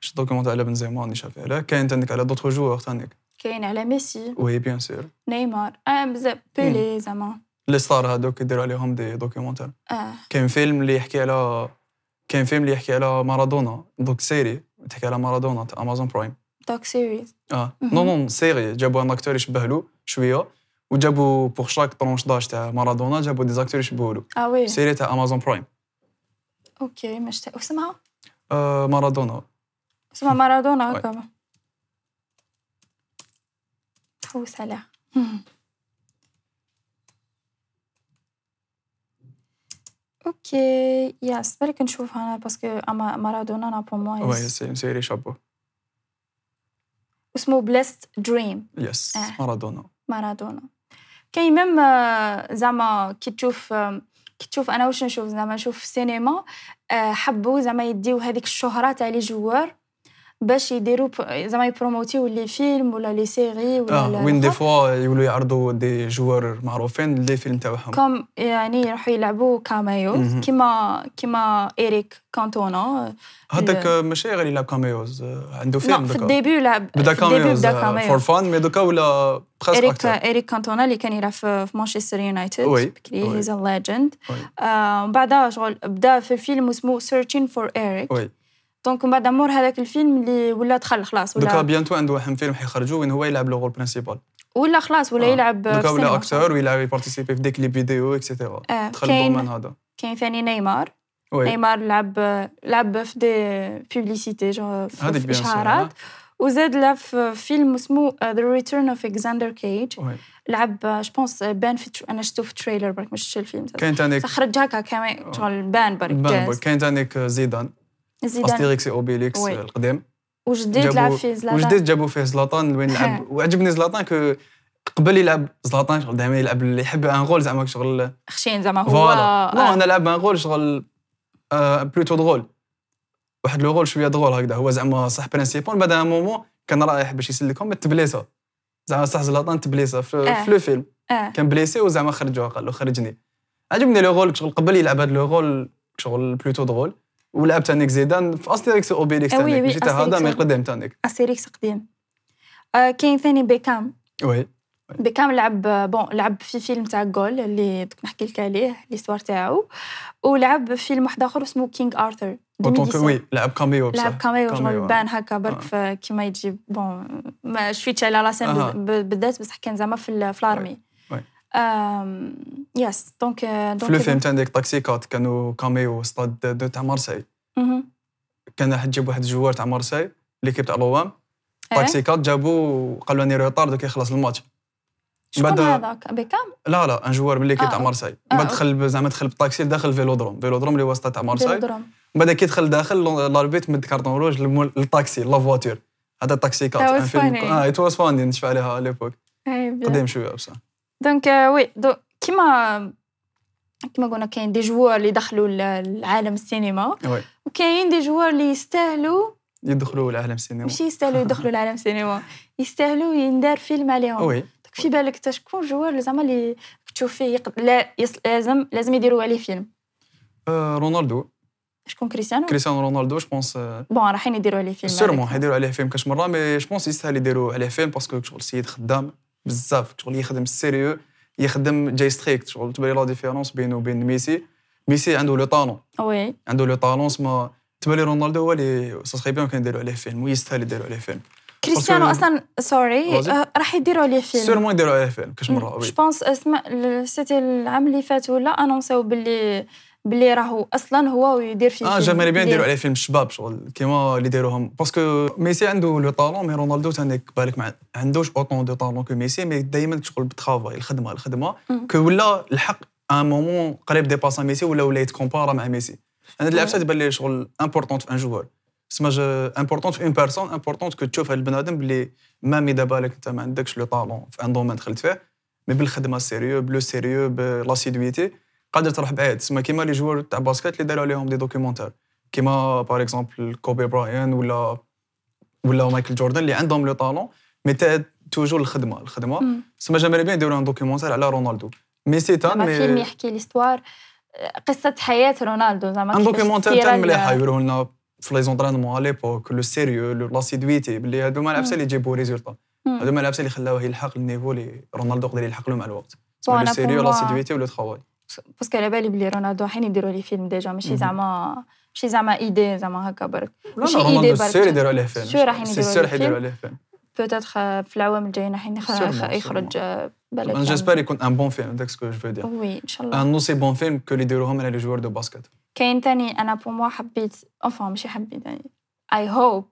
Speaker 3: شفت دوكيمونت على بنزيما راني شاف عليه كاين تانيك على دوطخ جوار تانيك
Speaker 2: كاين على ميسي
Speaker 3: وي بيان سور
Speaker 2: نيمار اه بزاف بيلي زعما
Speaker 3: لي ستار هادوك يديروا عليهم دي دوكيمونتير
Speaker 2: اه
Speaker 3: كاين فيلم اللي يحكي على كاين فيلم اللي يحكي على مارادونا دوك سيري تحكي على مارادونا تاع امازون برايم
Speaker 2: دوك سيريز
Speaker 3: اه
Speaker 2: مهم.
Speaker 3: نو نو سيري جابوا ان اكتور يشبه له شويه وجابوا بور شاك طرونش داج تاع مارادونا جابوا دي اكتور يشبهوا له
Speaker 2: اه وي
Speaker 3: سيري تاع امازون برايم
Speaker 2: اوكي ما شتا اسمها
Speaker 3: آه مارادونا
Speaker 2: اسمها مارادونا
Speaker 3: وي.
Speaker 2: هكا تحوس عليها اوكي يس بالك نشوفها انا باسكو اما مارادونا انا بور موا
Speaker 3: وي
Speaker 2: يس.
Speaker 3: سي- سيري شابو
Speaker 2: اسمه بليست دريم
Speaker 3: يس
Speaker 2: آه.
Speaker 3: مارادونا
Speaker 2: مارادونا كاين ميم آه، زعما كي تشوف آم، كي تشوف انا واش نشوف زعما نشوف في السينما آه، حبوا زعما يديو هذيك الشهره تاع لي جوار باش يديروا ب- زعما يبروموتيو لي فيلم ولا لي سيري ولا
Speaker 3: اه
Speaker 2: لا-
Speaker 3: وين دي
Speaker 2: الآخر.
Speaker 3: فوا يولوا يعرضوا دي جوار معروفين اللي فيلم تاعهم
Speaker 2: كوم يعني يروحوا يلعبوا كاميو
Speaker 3: مهم.
Speaker 2: كيما كيما اريك كانتونا
Speaker 3: هذاك ماشي غير يلعب كاميوز آه، عنده
Speaker 2: نو
Speaker 3: فيلم
Speaker 2: في
Speaker 3: دوكا.
Speaker 2: الديبي لعب في
Speaker 3: بدا
Speaker 2: الديبي
Speaker 3: كاميوز
Speaker 2: بدا
Speaker 3: فور
Speaker 2: كاميو
Speaker 3: فان مي دوكا ولا بريسك
Speaker 2: اريك
Speaker 3: اكتر
Speaker 2: اريك كانتونا اللي كان يلعب في في مانشستر يونايتد
Speaker 3: وي،
Speaker 2: بكري
Speaker 3: وي.
Speaker 2: هيز ا ليجند
Speaker 3: وي.
Speaker 2: آه، ومن بعد شغل بدا في فيلم اسمه سيرشين فور اريك
Speaker 3: وي
Speaker 2: دونك من بعد مور هذاك الفيلم اللي ولا دخل خلاص
Speaker 3: دوكا
Speaker 2: ولا
Speaker 3: بيانتو عنده واحد فيلم حيخرجوا وين هو يلعب لو رول برينسيبال
Speaker 2: ولا خلاص ولا
Speaker 3: آه.
Speaker 2: يلعب في
Speaker 3: دوكا
Speaker 2: السينما.
Speaker 3: ولا اكتور ويلعب يبارتيسيبي في ديك لي فيديو اكسيتيرا
Speaker 2: آه،
Speaker 3: دخل
Speaker 2: كاين-
Speaker 3: الدومين هذا
Speaker 2: كاين ثاني نيمار
Speaker 3: وي
Speaker 2: نيمار لعب لعب في دي بوبليسيتي جو
Speaker 3: هذيك
Speaker 2: في
Speaker 3: بيان سور
Speaker 2: اشهارات
Speaker 3: آه.
Speaker 2: وزاد لعب في فيلم اسمه ذا ريتيرن اوف اكزاندر كيج
Speaker 3: وي
Speaker 2: لعب جو بونس بان في تر- انا شفته في تريلر برك ما شفتش الفيلم زاد.
Speaker 3: كاين تانيك
Speaker 2: خرج هكا كما شغل بان برك
Speaker 3: آه. بان بوي.
Speaker 2: جاز
Speaker 3: كاين تانيك زيدان
Speaker 2: زيدان
Speaker 3: استيريكس اوبيليكس
Speaker 2: وي.
Speaker 3: القديم
Speaker 2: وجديد لعب فيه زلاتان
Speaker 3: وجديد جابوا فيه زلاطان وين لعب وعجبني زلاطان كو قبل يلعب زلاطان شغل دائما يلعب اللي يحب ان غول زعما شغل
Speaker 2: خشين زعما هو
Speaker 3: فوالا نو
Speaker 2: آه.
Speaker 3: انا لعب ان غول شغل آه بلوتو دغول واحد لو غول شويه دغول هكذا هو زعما صح برينسيبال بعد ان مومون كان رايح باش يسلكهم ما تبليسا زعما صح زلاطان تبليسا في
Speaker 2: آه.
Speaker 3: في لو فيلم
Speaker 2: آه.
Speaker 3: كان بليسي وزعما خرجوه قال له خرجني عجبني لو غول شغل قبل يلعب هذا لو غول شغل بلوتو دغول ولعب تانيك زيدان في استيريكس اوبيليكس
Speaker 2: آه، وي،
Speaker 3: تانيك
Speaker 2: وي،
Speaker 3: ماشي تاع هذا
Speaker 2: أستيريكس
Speaker 3: مي
Speaker 2: و-
Speaker 3: قدام تانيك
Speaker 2: اسيريكس قديم آه كاين ثاني بيكام
Speaker 3: وي
Speaker 2: بيكام لعب بون لعب في فيلم تاع جول اللي دوك نحكي لك عليه ليستوار تاعو ولعب في فيلم واحد اخر اسمه كينغ ارثر
Speaker 3: وطون كو- وي لعب كاميو بصح
Speaker 2: لعب كاميو
Speaker 3: كاميو،
Speaker 2: شغل
Speaker 3: آه.
Speaker 2: بان هكا برك
Speaker 3: آه.
Speaker 2: في كيما يجي بون ما شفيتش على راسي
Speaker 3: أها.
Speaker 2: بالذات بصح كان زعما في ال- في الارمي
Speaker 3: وي.
Speaker 2: آم، euh، يس دونك دونك
Speaker 3: في لو فيلم تاع ديك تاكسي كات كانوا كاميو ستاد دو تاع مارسي
Speaker 2: مهم.
Speaker 3: كان راح تجيب واحد الجوار تاع مارسي ليكيب تاع لوام
Speaker 2: إيه.
Speaker 3: تاكسي كات جابوه قالوا اني روطار دوك يخلص الماتش
Speaker 2: شكون
Speaker 3: بعد-
Speaker 2: هذاك بيكام
Speaker 3: لا لا ان جوار من ليكيب
Speaker 2: آه،
Speaker 3: تاع مارسي
Speaker 2: آه،
Speaker 3: بعد
Speaker 2: أوكي.
Speaker 3: دخل ب- زعما دخل بالطاكسي داخل فيلودروم فيلودروم اللي وسط تاع مارسي
Speaker 2: فيلودروم.
Speaker 3: بعد كي دخل داخل لون- لاربيت مد كارطون روج للمول- للطاكسي لا فواتور هذا تاكسي كات
Speaker 2: That
Speaker 3: ان
Speaker 2: was
Speaker 3: فيلم
Speaker 2: funny.
Speaker 3: اه ات واز فاني نشفى عليها ليبوك
Speaker 2: إيه، بيان.
Speaker 3: قديم شويه بصح
Speaker 2: دونك آه، وي دو كيما كيما قلنا كاين دي جوار اللي دخلوا لعالم السينما
Speaker 3: وي
Speaker 2: وكاين دي جوار اللي يستاهلوا
Speaker 3: يدخلوا لعالم السينما
Speaker 2: ماشي يستاهلوا يدخلوا لعالم السينما يستاهلوا يندار فيلم عليهم
Speaker 3: وي
Speaker 2: دونك في بالك تا شكون جوار اللي زعما اللي تشوف فيه يقد... لا يس... لازم لازم يديروا عليه فيلم
Speaker 3: آه، رونالدو
Speaker 2: شكون كريستيانو
Speaker 3: كريستيانو رونالدو جو بونس
Speaker 2: بون رايحين يديروا عليه فيلم
Speaker 3: سيرمون
Speaker 2: هذاك.
Speaker 3: حيديروا عليه فيلم كاش مره مي جو بونس يستاهل يديروا عليه فيلم باسكو شغل السيد خدام بزاف شغل يخدم سيريو يخدم جاي ستريكت شغل تبان لا ديفيرونس بينه وبين ميسي ميسي عنده لو طالون
Speaker 2: وي
Speaker 3: عنده لو طالون سما تبان لي رونالدو هو اللي سا سخي بيان كان يديروا عليه فيلم ويستاهل يديروا عليه فيلم
Speaker 2: كريستيانو
Speaker 3: Parce que-
Speaker 2: اصلا سوري
Speaker 3: Vas-y.
Speaker 2: آه، راح يديروا عليه فيلم
Speaker 3: سيرمون يديروا عليه فيلم كاش مره
Speaker 2: جو
Speaker 3: وي
Speaker 2: بونس اسمع ال- سيتي العام اللي فات ولا انونساو باللي باللي راهو اصلا هو يدير في
Speaker 3: اه
Speaker 2: فيلم
Speaker 3: جمالي بيان
Speaker 2: اللي-
Speaker 3: يديروا عليه فيلم الشباب شغل كيما اللي دايروهم باسكو ميسي عنده لو طالون مي رونالدو تانيك بالك ما عندوش اوطون دو طالون كو ميسي مي دائما شغل بالترافاي الخدمه الخدمه
Speaker 2: مم.
Speaker 3: كو ولا الحق ان مومون قريب ديباسا ميسي ولا ولا يتكومبارا مع ميسي انا
Speaker 2: آه.
Speaker 3: هاد العفسه تبان لي شغل امبورطون في ان جوار سما امبورطون في اون بيرسون امبورطون كو تشوف هاد البنادم بلي مام اذا بالك انت ما عندكش لو طالون في ان دومين دخلت فيه مي بالخدمه سيريو بلو سيريو بلاسيدويتي قادر تروح بعيد سما كيما لي جوار تاع باسكت اللي داروا عليهم دي دوكيومونتير كيما باغ اكزومبل كوبي براين ولا ولا مايكل جوردن اللي عندهم لو طالون مي تا- توجور الخدمه الخدمه
Speaker 2: مم.
Speaker 3: سما جامري بيان يديروا ان دوكيومونتير على رونالدو مي سي تان
Speaker 2: زعما فيلم
Speaker 3: مي
Speaker 2: يحكي ليستوار قصه حياه رونالدو زعما
Speaker 3: ان
Speaker 2: كيفاش
Speaker 3: دوكيومونتير
Speaker 2: السيرة
Speaker 3: تاع
Speaker 2: ال-
Speaker 3: مليحه يوريوه لنا في لي زونترينمون على ليبوك لو سيريو لاسيدويتي بلي هذوما العبسه اللي يجيبوا ريزولتا
Speaker 2: مم.
Speaker 3: هذوما العبسه اللي خلاوه يلحق النيفو اللي رونالدو قدر يلحق له مع الوقت
Speaker 2: Bon,
Speaker 3: لو
Speaker 2: أنا
Speaker 3: سيريو
Speaker 2: pour moi-
Speaker 3: لاسيدويتي ولو تخوال
Speaker 2: باسكو على بالي بلي رونالدو حين يديروا لي فيلم ديجا ماشي
Speaker 3: مم.
Speaker 2: زعما ماشي زعما ايدي زعما هكا برك
Speaker 3: لا
Speaker 2: ماشي
Speaker 3: لا
Speaker 2: إيدي
Speaker 3: رونالدو
Speaker 2: برك.
Speaker 3: سير يديروا عليه فيلم
Speaker 2: سير راح يديروا
Speaker 3: سير
Speaker 2: عليه
Speaker 3: راح يديروا
Speaker 2: فيلم.
Speaker 3: عليه فيلم
Speaker 2: بوتيتر آه، في العوام الجايين حين يخ-
Speaker 3: Sûrement,
Speaker 2: يخ- يخرج آه، بالك
Speaker 3: انا جيسبر يكون ان بون فيلم داك سكو جو فو دير
Speaker 2: وي ان شاء الله
Speaker 3: ان نوسي بون فيلم كو اللي يديروهم على لي جوار دو باسكت
Speaker 2: كاين تاني انا بور موا حبيت انفون ماشي حبيت يعني اي هوب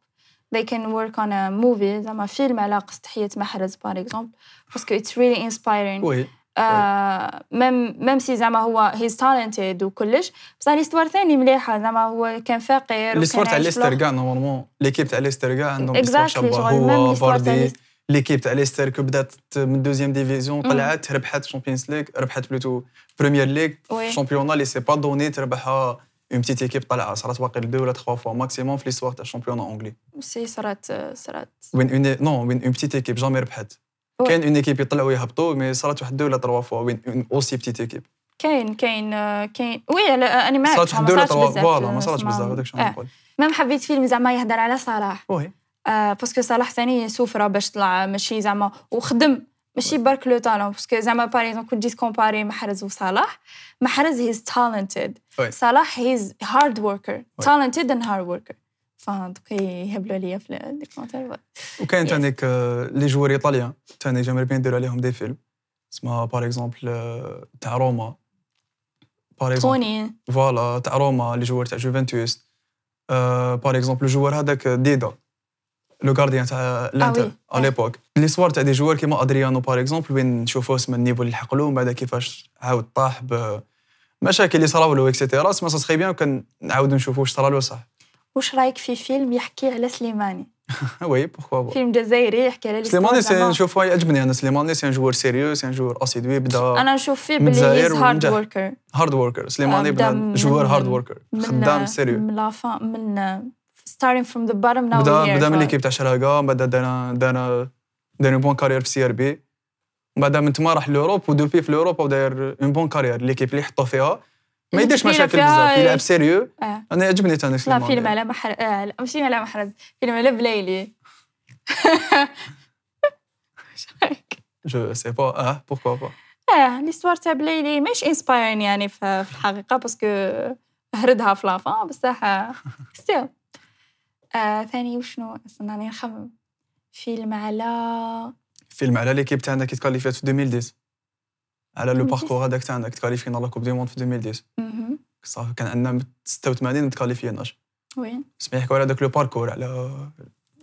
Speaker 2: they can work on a movie زعما فيلم على قصة حياة محرز بار اكزومبل باسكو it's really inspiring
Speaker 3: وي
Speaker 2: آه، ميم ميم سي زعما هو he's talented وكلش بصح ليستوار ثاني مليحة زعما هو كان فقير
Speaker 3: ليستوار تاع
Speaker 2: وكان عايش
Speaker 3: ليستر
Speaker 2: بلوح.
Speaker 3: كاع نورمالمون ليكيب تاع ليستر كاع عندهم ليستوار
Speaker 2: Exactly,
Speaker 3: شابه
Speaker 2: شغل même
Speaker 3: هو
Speaker 2: l'histoire تاع
Speaker 3: فاردي
Speaker 2: ليستر.
Speaker 3: ليكيب تاع ليستر كو بدات من دوزيام ديفيزيون طلعت ربحت شامبيونز ليغ ربحت بلوتو بريمير ليغ
Speaker 2: وي.
Speaker 3: شامبيونا اللي سي با دوني تربحها اون بتيت ايكيب طالعه صارت باقي لدو ولا تخوا فوا ماكسيموم في ليستوار تاع شامبيونا اونغلي
Speaker 2: سي صرات صرات
Speaker 3: وين اون نو وين اون بتيت ايكيب جامي ربحت
Speaker 2: وي.
Speaker 3: كاين اون ايكيب يطلعوا يهبطوا مي صارت واحد دو ولا تروا فوا وين اون اوسي بتيت ايكيب
Speaker 2: كاين كاين آه، كاين وي على- انا معاك
Speaker 3: صارت
Speaker 2: ما
Speaker 3: واحد دو ولا
Speaker 2: صارتش
Speaker 3: تروا
Speaker 2: بزاف
Speaker 3: فوالا ما صارتش
Speaker 2: اسمها.
Speaker 3: بزاف هذاك شنو
Speaker 2: آه.
Speaker 3: نقول
Speaker 2: مام حبيت فيلم زعما يهدر على صلاح
Speaker 3: وي
Speaker 2: آه باسكو صلاح ثاني سوفرا باش طلع ماشي زعما وخدم ماشي برك لو تالون باسكو زعما باغ اكزومبل كنت جيت كومباري محرز وصلاح محرز هيز تالنتد
Speaker 3: وي.
Speaker 2: صلاح هيز هارد وركر تالنتد اند هارد وركر فهمت يهبلوا ليا في لي كومنتير
Speaker 3: وكاين
Speaker 2: Yes.
Speaker 3: تانيك آه، لي جوار ايطاليان تاني جامري بيان نديرو عليهم دي فيلم اسمها باغ اكزومبل تاع روما باغ اكزومبل
Speaker 2: توني
Speaker 3: فوالا تاع روما لي جوار تاع جوفنتوس آه، باغ اكزومبل الجوار هذاك ديدا لو غارديان تاع
Speaker 2: وي.
Speaker 3: الانتر
Speaker 2: آه.
Speaker 3: على ليبوك ليسوار تاع دي جوار كيما ادريانو باغ اكزومبل وين نشوفو اسم النيفو اللي حقلو من بعد كيفاش عاود طاح بمشاكل اللي صراو له اكسيتيرا سما سا سخي بيان كان نعاودو نشوفو واش صرا له صح
Speaker 2: واش رايك في فيلم يحكي على سليماني
Speaker 3: وي بوخوا با
Speaker 2: فيلم جزائري يحكي على
Speaker 3: سليماني
Speaker 2: الإسلام زعما.
Speaker 3: سي نشوفه يعجبني انا سليماني سي ان جوار سيريو سي ان جوار اسيدوي بدا
Speaker 2: انا نشوف فيه بلي هيز
Speaker 3: متزاير
Speaker 2: هارد
Speaker 3: ونجح.
Speaker 2: وركر
Speaker 3: هارد وركر سليماني
Speaker 2: بدا
Speaker 3: بدا
Speaker 2: من-
Speaker 3: جوار هارد وركر خدام سيريو
Speaker 2: من لافا من ستارتينغ فروم ذا بارم ناو
Speaker 3: بدا بدا من ليكيب تاع شراقه من بعد دار دار دار بون كارير في سي ار بي من بعد من تما راح لوروب ودوبي في لوروب وداير اون بون كارير ليكيب اللي حطوا فيها ما
Speaker 2: اللي
Speaker 3: يديرش
Speaker 2: كبيرة
Speaker 3: مشاكل
Speaker 2: فيها
Speaker 3: بزاف
Speaker 2: ي-
Speaker 3: يلعب سيريو
Speaker 2: آه.
Speaker 3: انا يعجبني تاني
Speaker 2: لا
Speaker 3: سليماني
Speaker 2: فيلم على محرز آه لا، ماشي على محرز فيلم على بلايلي إيش رأيك؟
Speaker 3: جو سي با اه بوركوا با
Speaker 2: اه ليستوار تاع بلايلي مش انسبايرين يعني ف- في الحقيقه باسكو هردها في لافا بصح آه، ستيل آه ثاني وشنو استناني نخمم فيلم على
Speaker 3: فيلم على ليكيب تاعنا كي تكاليفيات في 2010 على لو
Speaker 2: 2010.
Speaker 3: باركور هذاك تاعنا كي تكاليفينا لا كوب دي موند في 2010
Speaker 2: مهم.
Speaker 3: صافي كان عندنا من 86 متكاليفيناش
Speaker 2: وين
Speaker 3: سمع يحكوا على داك لو باركور على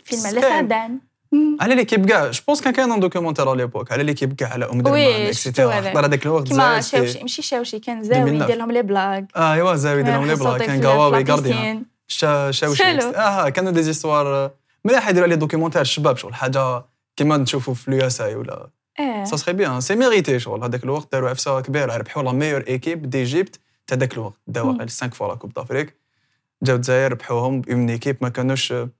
Speaker 2: فيلم على
Speaker 3: سكاي.
Speaker 2: سعدان مم.
Speaker 3: على ليكيب كاع جو بونس كان كاين ان دوكيومونتير على ليبوك على ليكيب كاع على ام درمان
Speaker 2: وي، شفتو
Speaker 3: اكسيتيرا
Speaker 2: هذا.
Speaker 3: حضر هذاك الوقت
Speaker 2: كيما
Speaker 3: زاوي
Speaker 2: شاوشي
Speaker 3: سي-
Speaker 2: مشي شاوشي كان زاوي
Speaker 3: 2009.
Speaker 2: يدير لهم لي بلاك آه،
Speaker 3: اه ايوا زاوي ديرهم لي بلاك كان قواوي غارديان شا- شاوشي
Speaker 2: شالو.
Speaker 3: اه كانوا دي زيستوار مليح يديروا عليه دوكيومونتير الشباب شغل حاجه كيما نشوفوا في لو اس اي ولا
Speaker 2: آه،
Speaker 3: سا سخي بيان سي ميريتي شغل هذاك الوقت داروا عفسه كبيره ربحوا لا ميور ايكيب ديجيبت تاع ذاك الوقت داو
Speaker 2: مم.
Speaker 3: 5 فوا لا كوب دافريك جاو الجزائر ربحوهم اون ايكيب ما كانوش ما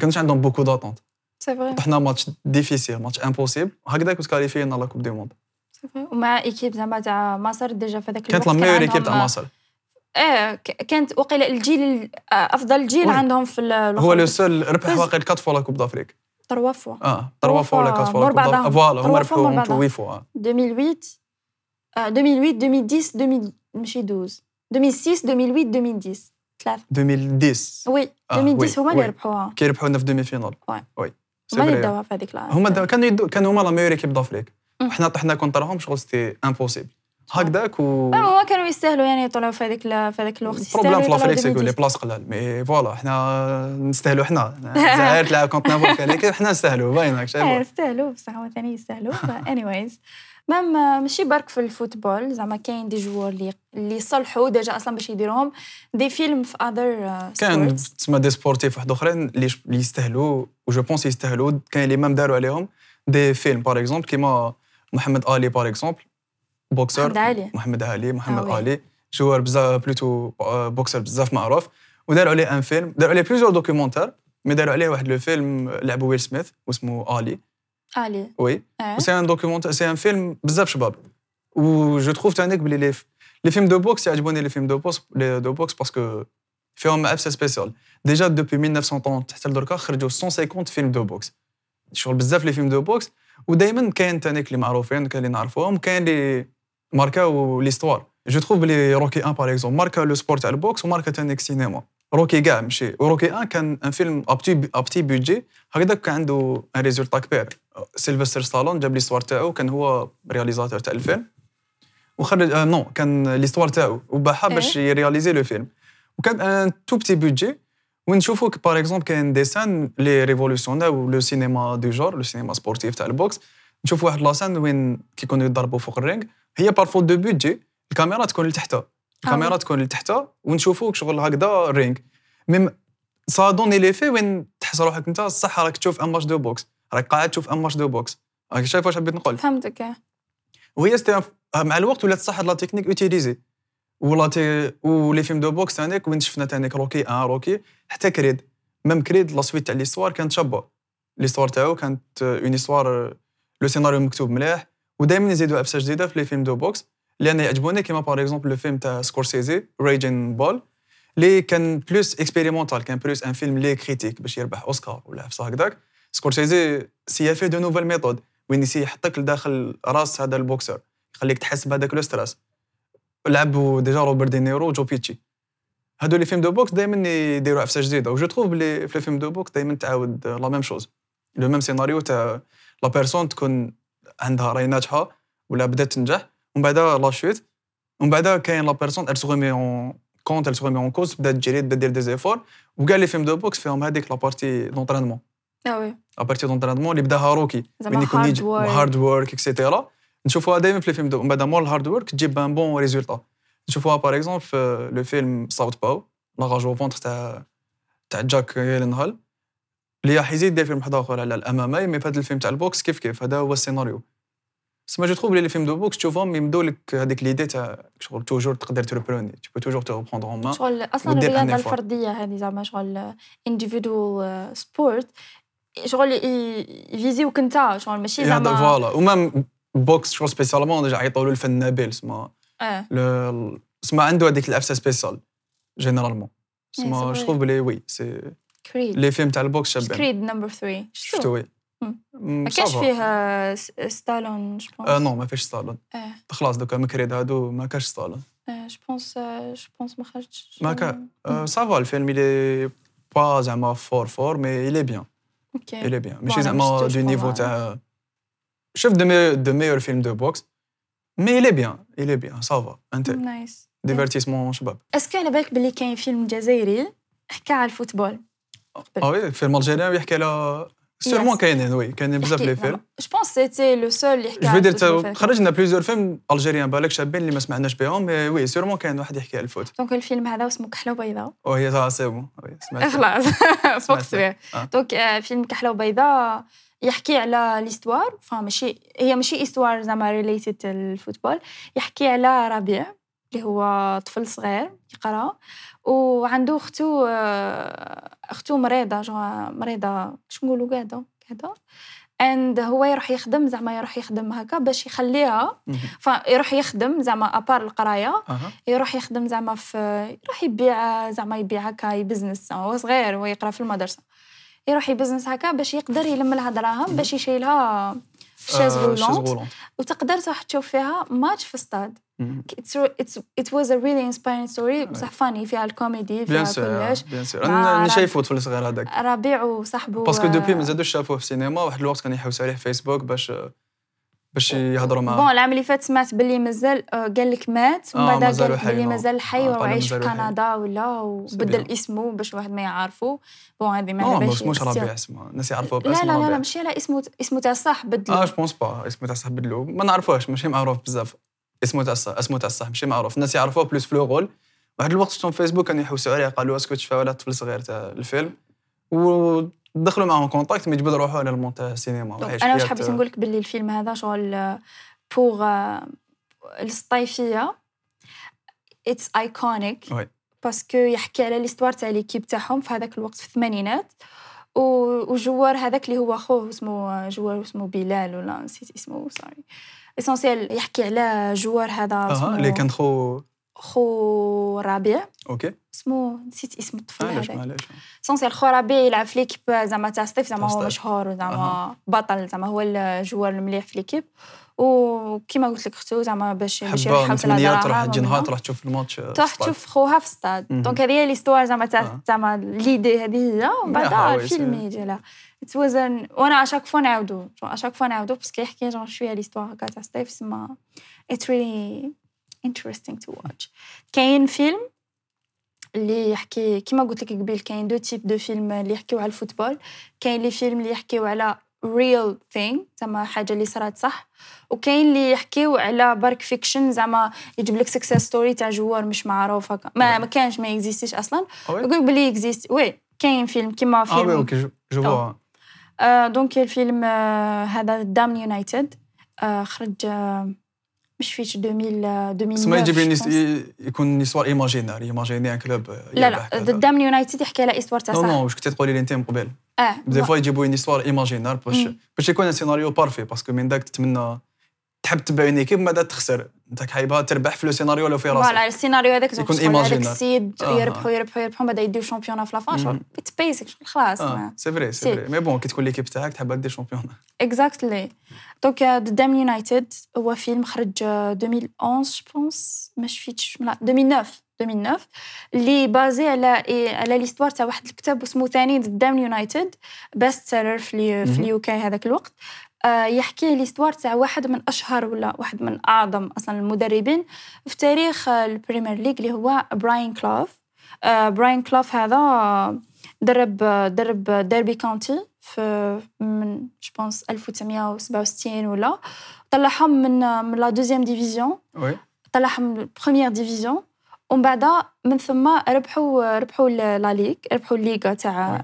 Speaker 3: كانوش عندهم بوكو داتونت
Speaker 2: سي فري
Speaker 3: طحنا ماتش ديفيسيل ماتش امبوسيبل هكذاك وتكاليفينا لا كوب دي موند
Speaker 2: سي فري ومع ايكيب زعما تاع مصر ديجا في هذاك
Speaker 3: كانت لا
Speaker 2: الوقت كان
Speaker 3: ميور ايكيب
Speaker 2: عندهم-
Speaker 3: تاع مصر
Speaker 2: اه ك- كانت وقيل الجيل ال- آه، افضل جيل
Speaker 3: وي.
Speaker 2: عندهم في ال-
Speaker 3: هو لو سول ربح
Speaker 2: فاز-
Speaker 3: واقع 4 فوا لا كوب دافريك
Speaker 2: تروا فوا
Speaker 3: اه 3 فوا ولا 4 فوا
Speaker 2: مور
Speaker 3: لا كوب
Speaker 2: بعضها.
Speaker 3: دافريك فوالا هما
Speaker 2: تروا فوا مور
Speaker 3: ربحوهم
Speaker 2: بعضها.
Speaker 3: 8 فوا آه.
Speaker 2: 2008 آه، 2008 2010 2000 ماشي 12 2006 2008 2010 ثلاثة
Speaker 3: 2010
Speaker 2: وي
Speaker 3: آه،
Speaker 2: 2010
Speaker 3: وي،
Speaker 2: هما اللي
Speaker 3: وي.
Speaker 2: ربحوها
Speaker 3: كي ربحونا في دومي فينال
Speaker 2: وي.
Speaker 3: وي سي
Speaker 2: هما اللي
Speaker 3: فري.
Speaker 2: داوها في هذيك لا
Speaker 3: هما دا- كانوا يدو- كانوا هما لا ميور ايكيب دافريك
Speaker 2: مم.
Speaker 3: حنا طحنا كونترهم شغل سيتي امبوسيبل هكذاك و
Speaker 2: هما كانوا يستاهلوا يعني يطلعوا في هذيك ال- في هذاك الوقت
Speaker 3: البروبليم في لافريك سيكو لي
Speaker 2: 2010.
Speaker 3: بلاص قلال مي فوالا حنا نستاهلوا حنا الجزائر تلعب كونت نابول كان حنا نستاهلوا باينك
Speaker 2: اه
Speaker 3: شايف
Speaker 2: يستاهلوا بصح هما ثاني يستاهلوا anyways مام آه، ماشي برك في الفوتبول زعما كاين دي جوار اللي اللي صلحوا ديجا اصلا باش يديروهم دي فيلم في آه، اذر
Speaker 3: كان
Speaker 2: سبورتس
Speaker 3: تسمى دي سبورتيف واحد اخرين اللي ش- اللي يستاهلوا وجو بونس يستاهلوا كاين اللي مام داروا عليهم دي فيلم باغ اكزومبل كيما محمد علي باغ اكزومبل
Speaker 2: محمد
Speaker 3: بوكسر
Speaker 2: علي
Speaker 3: محمد علي محمد
Speaker 2: آه وي.
Speaker 3: علي جوار بزاف بلوتو آه، بوكسر بزاف معروف وداروا عليه ان فيلم داروا عليه بليزيور دوكيومونتير مي داروا عليه واحد لو فيلم لعبوا ويل سميث واسمه علي
Speaker 2: علي
Speaker 3: وي
Speaker 2: اه
Speaker 3: سي ان دوكيومونت سي ان فيلم بزاف شباب و جو تروف تانيك بلي لي لي فيلم دو بوكس يعجبوني لي فيلم دو بوكس لي دو بوكس باسكو فيهم عفسه سبيسيال ديجا دوبي 1980 حتى لدركا خرجوا 150 فيلم دو بوكس شغل بزاف لي فيلم دو بوكس ودائما كاين تانيك اللي معروفين كاين اللي نعرفوهم كاين اللي ماركاو ليستوار جو تروف بلي روكي 1 باغ اكزومبل ماركا لو سبور تاع البوكس وماركا تانيك سينما روكي كاع ماشي وروكي 1 كان ان فيلم ابتي ابتي بودجي هكذاك كان عنده ان ريزولتا كبير سيلفستر ستالون جاب ليستوار تاعو كان هو رياليزاتور تاع الفيلم وخرج آه نو كان ليستوار تاعو وباعها
Speaker 2: إيه.
Speaker 3: باش يرياليزي لو فيلم وكان ان تو بتي بودجي ونشوفوا ك- باغ اكزومبل كاين دي سان لي ريفولوسيوناو لو سينما دو جور لو سينما سبورتيف تاع البوكس نشوف واحد لاسان وين كيكونوا يضربوا فوق الرينغ هي بار فوت دو بودجي الكاميرا تكون لتحتها الكاميرا تكون لتحتها ونشوفوك شغل هكذا رينغ ميم سا دوني ليفي وين تحس روحك انت صح راك تشوف ان ماتش دو بوكس راك قاعد تشوف ان ماتش دو بوكس راك شايف واش حبيت نقول
Speaker 2: فهمتك آه.
Speaker 3: وهي ستي مع الوقت ولات صح هاد لا تكنيك اوتيليزي ولا تي ولي فيلم دو بوكس تانيك وين شفنا تانيك روكي ان روكي حتى كريد ميم كريد لا سويت تاع ليستوار كانت شابه ليستوار تاعو كانت اون ايستوار لو سيناريو مكتوب مليح ودائما يزيدوا ابسه جديده في لي فيلم دو بوكس لان يعجبوني كيما باغ اكزومبل لو فيلم تاع سكورسيزي ريجن بول اللي كان بلوس اكسبيريمونتال كان بلوس ان فيلم لي كريتيك باش يربح اوسكار ولا عفسه هكذاك سكورسيزي سي فيه دو نوفيل ميثود وين يسي يحطك لداخل راس هذا البوكسر يخليك تحس بهذاك لو ستريس لعبوا ديجا روبرت دينيرو وجو بيتشي هادو لي فيلم دو بوكس دائما يديروا عفسه جديده وجو تروف بلي في لي فيلم دو بوكس دائما تعاود لا ميم شوز لو ميم سيناريو تاع لا بيرسون تكون عندها راهي ناجحه ولا بدات تنجح ومن بعد لا شوت ومن بعد كاين لا بيرسون ال سو اون كونت ال سو اون كوز بدات تجري بدات دير دي زيفور وكاع لي فيلم دو بوكس فيهم هذيك لا بارتي دونترينمون
Speaker 2: اه وي
Speaker 3: لا بارتي دونترينمون اللي بداها روكي
Speaker 2: زعما
Speaker 3: وين يكون
Speaker 2: hard
Speaker 3: يجي
Speaker 2: work.
Speaker 3: هارد ورك اكسيتيرا نشوفوها دائما في الفيلم دو من بعد مور الهارد ورك تجيب ان بون ريزولتا نشوفوها euh, باغ اكزومبل في لو فيلم ساوث باو لا راج او فونتر تاع تاع جاك هيلنهال اللي راح يزيد يدير فيلم واحد اخر على الامامي مي في هذا الفيلم تاع البوكس كيف كيف هذا هو السيناريو سما جو تخوف لي فيلم دو بوكس تشوفهم يمدوا لك هذيك ليدي تاع شغل توجور تقدر تربروني تو بو توجور تو ريبروندر اون مان
Speaker 2: شغل اصلا
Speaker 3: وتدير
Speaker 2: الرياضه
Speaker 3: un effort.
Speaker 2: الفرديه هذه زعما شغل آه، individual سبورت شغل يفيزيوك انت شغل ماشي
Speaker 3: إيه، هذا
Speaker 2: زعما
Speaker 3: فوالا ومام بوكس شغل سبيسيالمون ديجا عيطوا له الفن نابل سما
Speaker 2: اه
Speaker 3: لو- سما عنده هذيك العفسه سبيسيال جينيرالمون
Speaker 2: إيه،
Speaker 3: سما
Speaker 2: صغير.
Speaker 3: شكون بلي وي سي
Speaker 2: كريد
Speaker 3: لي فيلم تاع البوكس شابين
Speaker 2: كريد نمبر 3
Speaker 3: شفتو
Speaker 2: شفتو
Speaker 3: وي
Speaker 2: مم.
Speaker 3: مم،
Speaker 2: ما كانش
Speaker 3: صافا.
Speaker 2: فيه آه، س- ستالون جو
Speaker 3: آه،
Speaker 2: بونس
Speaker 3: نو ما فيش ستالون
Speaker 2: اه
Speaker 3: خلاص دوكا مكريد هادو ما كاش ستالون
Speaker 2: جو بونس جو بونس ما خرجتش
Speaker 3: ما كا
Speaker 2: مم.
Speaker 3: آه، سافا الفيلم الي با زعما فور فور مي الي بيان
Speaker 2: اوكي
Speaker 3: الي بيان ماشي
Speaker 2: أنا
Speaker 3: زعما
Speaker 2: مشفتوش
Speaker 3: دو نيفو
Speaker 2: طبعاً.
Speaker 3: تاع شوف دو مي- دو ميور فيلم دو بوكس مي الي بيان الي بيان سافا انت
Speaker 2: نايس
Speaker 3: ديفيرتيسمون شباب
Speaker 2: اسكو على بالك باللي كاين فيلم جزائري حكى على الفوتبول
Speaker 3: اه وي فيلم الجيريان يحكي على سيرمون كاينين وي كاينين بزاف لي فيلم
Speaker 2: جو بونس سيتي لو سول اللي حكى على
Speaker 3: جو دير
Speaker 2: الفوتبول
Speaker 3: تا-
Speaker 2: فيه.
Speaker 3: خرجنا بليزيور فيلم الجيريان بالك شابين اللي ما سمعناش بهم إيه، وي سيرمون كاين واحد يحكي على الفوت Oh,
Speaker 2: دونك الفيلم هذا اسمه كحله بيضاء
Speaker 3: وهي تا سي بون وي، سمعت فيه.
Speaker 2: خلاص فوكس
Speaker 3: سمعت.
Speaker 2: به
Speaker 3: آه.
Speaker 2: دونك آه، فيلم كحله بيضاء يحكي على ليستوار فماشي هي ماشي استوار زعما ريليتد للفوتبول يحكي على ربيع اللي هو طفل صغير يقرا وعنده اختو آه، اختو مريضه جو مريضه شو نقولوا قاعده قاعده اند هو يروح يخدم زعما يروح يخدم هكا باش يخليها
Speaker 3: مهم. آه،
Speaker 2: فيروح يخدم زعما ابار القرايه
Speaker 3: أها.
Speaker 2: يروح يخدم زعما في يروح يبيع زعما يبيع هكا بزنس هو صغير هو يقرا في المدرسه يروح يبزنس هكا باش يقدر يلم لها دراهم باش يشيلها شاز
Speaker 3: آه، شاز
Speaker 2: رولونت
Speaker 3: غولونت.
Speaker 2: وتقدر تروح تشوف فيها ماتش في ستاد
Speaker 3: مهم.
Speaker 2: ات واز ا ريلي انسبايرينغ
Speaker 3: آه.
Speaker 2: ستوري بصح فاني فيها الكوميدي
Speaker 3: بيان
Speaker 2: فيها
Speaker 3: سور
Speaker 2: كلش
Speaker 3: بيان
Speaker 2: مع
Speaker 3: سور انا أنا
Speaker 2: راد-
Speaker 3: شايفو طفل صغير هذاك
Speaker 2: ربيع وصاحبه آه،
Speaker 3: باسكو دوبي ما زادوش شافوه في السينما واحد الوقت كان يحوس عليه في فيسبوك باش باش يهضروا آه،
Speaker 2: بون
Speaker 3: معاه
Speaker 2: العام اللي فات سمعت باللي مازال آه، قال لك مات
Speaker 3: آه،
Speaker 2: ومن بعد
Speaker 3: مازالو
Speaker 2: قال لك
Speaker 3: حي،
Speaker 2: باللي
Speaker 3: نو.
Speaker 2: مازال حي
Speaker 3: آه، قالوا
Speaker 2: وعايش في
Speaker 3: مازالو حي.
Speaker 2: كندا ولا
Speaker 3: بيان.
Speaker 2: وبدل اسمه باش واحد ما يعرفه بون هذه ما
Speaker 3: نو
Speaker 2: على
Speaker 3: مش
Speaker 2: باليش
Speaker 3: مش آه، ربيع اسمه الناس يعرفوه
Speaker 2: لا لا
Speaker 3: باسم
Speaker 2: لا, لا
Speaker 3: ربيع
Speaker 2: ماشي على اسمه اسمه تاع صح
Speaker 3: اه
Speaker 2: بدلو
Speaker 3: جو بونس با اسمه تاع الصح بدلو ما نعرفوهش ماشي معروف بزاف اسمه تاع الصح اسمه تاع الصح ماشي معروف الناس يعرفوه بلوس في الغول واحد الوقت شفتهم في فيسبوك كانوا يحوسوا عليه قالوا اسكو تشفى ولا طفل صغير تاع الفيلم ودخلوا معاهم كونتاكت ما جبدوا روحوا على المون تاع السينما
Speaker 2: دونك
Speaker 3: وعايش
Speaker 2: انا واش
Speaker 3: حياة-
Speaker 2: حبيت نقول لك باللي الفيلم هذا شغل بوغ آه، الصيفيه اتس ايكونيك
Speaker 3: وي.
Speaker 2: باسكو يحكي على ليستوار تاع ليكيب تاعهم في هذاك الوقت في الثمانينات و- وجوار هذاك اللي هو خوه اسمه جوار اسمه بلال ولا نسيت اسمه سوري اسونسيال يحكي على جوار هذا
Speaker 3: اها
Speaker 2: اسمه-
Speaker 3: اللي كان خو
Speaker 2: خو ربيع
Speaker 3: اوكي
Speaker 2: اسمه نسيت اسم الطفل
Speaker 3: علاش
Speaker 2: هذاك
Speaker 3: علاش
Speaker 2: سونسيال خو ربيع يلعب في ليكيب زعما تاع ستيف زعما
Speaker 3: تاع
Speaker 2: هو
Speaker 3: ستيف.
Speaker 2: مشهور زعما
Speaker 3: أها.
Speaker 2: بطل زعما هو الجوار المليح في ليكيب وكيما قلت لك اختو زعما باش باش
Speaker 3: حبه
Speaker 2: يلحق
Speaker 3: متمنيه
Speaker 2: الهضره
Speaker 3: تروح
Speaker 2: معاهم
Speaker 3: تجي نهار
Speaker 2: ومنهم.
Speaker 3: تروح تشوف الماتش آه،
Speaker 2: تروح
Speaker 3: ستاد.
Speaker 2: تشوف خوها في ستاد
Speaker 3: مهم.
Speaker 2: دونك هذه هي ليستوار زعما تاع
Speaker 3: آه.
Speaker 2: زعما ليدي هذه هي ومن بعد
Speaker 3: حوايج،
Speaker 2: الفيلم
Speaker 3: آه.
Speaker 2: يجي لا توازن وانا اشاك فوا نعاودو اشاك فوا نعاودو باسكو يحكي جون شويه ليستوار هكا تاع ستيف سما اتس ريلي انتريستينغ تو واتش كاين فيلم اللي يحكي كيما قلت لك قبيل كاين دو تيب دو فيلم اللي يحكيو على الفوتبول كاين لي فيلم اللي يحكيو على real thing زعما حاجه اللي صارت صح وكاين اللي يحكيو على برك فيكشن زعما يجيب لك سكسس ستوري تاع جوار مش معروف هكا ما, ما كانش ما اكزيستيش اصلا
Speaker 3: آه وي؟
Speaker 2: يقول لك بلي اكزيست وي كاين فيلم كيما
Speaker 3: اه
Speaker 2: فيلم
Speaker 3: وي اوكي جو- جو فوا
Speaker 2: آه، دونك الفيلم آه، هذا دام يونايتد آه، خرج آه، مش فيش 2000 آه، 2009
Speaker 3: سما يجيب لي
Speaker 2: je pense.
Speaker 3: ي- يكون نيسوار ايماجينار ايماجيني ان كلوب
Speaker 2: لا لا دام يونايتد يحكي على اسوار تاع
Speaker 3: نو
Speaker 2: صح
Speaker 3: نو واش كنتي تقولي لي انت من قبل
Speaker 2: اه
Speaker 3: دي فوا يجيبوا اون ايستوار ايماجينار باش
Speaker 2: مم.
Speaker 3: باش يكون سيناريو بارفي باسكو من داك تتمنى تحب تبع اون ايكيب ما دا تخسر انت حايبها تربح في لو سيناريو لو في راسك
Speaker 2: فوالا السيناريو هذاك
Speaker 3: يكون
Speaker 2: شغل هذاك
Speaker 3: imaginaire.
Speaker 2: السيد
Speaker 3: آه.
Speaker 2: يربحوا يربحوا يربحوا بعدا يديو شامبيون في لافان شغل
Speaker 3: مم.
Speaker 2: اتس بيسك شغل خلاص
Speaker 3: اه سي فري
Speaker 2: سي.
Speaker 3: سي فري مي بون كي تكون ليكيب تاعك تحب دي شامبيون
Speaker 2: اكزاكتلي دونك دام يونايتد هو فيلم euh, خرج آه، 2011 جو بونس ما شفتش لا 2009 2009 اللي بازي على إيه على ليستوار تاع واحد الكتاب اسمه ثاني دام يونايتد بيست سيلر في اليو- في
Speaker 3: مهم.
Speaker 2: اليو كي هذاك الوقت آه، يحكي ليستوار تاع واحد من اشهر ولا واحد من اعظم اصلا المدربين في تاريخ آه، البريمير ليج اللي هو براين كلوف آه، براين كلوف هذا آه، درب آه، درب آه، ديربي كاونتي في من جو بونس 1967 ولا طلعهم من آه، من لا دوزيام ديفيزيون
Speaker 3: وي
Speaker 2: طلعهم من البروميير ديفيزيون ومن بعد من ثم ربحوا ربحوا ال- لا ليغ ربحوا الليغا تاع
Speaker 3: وي.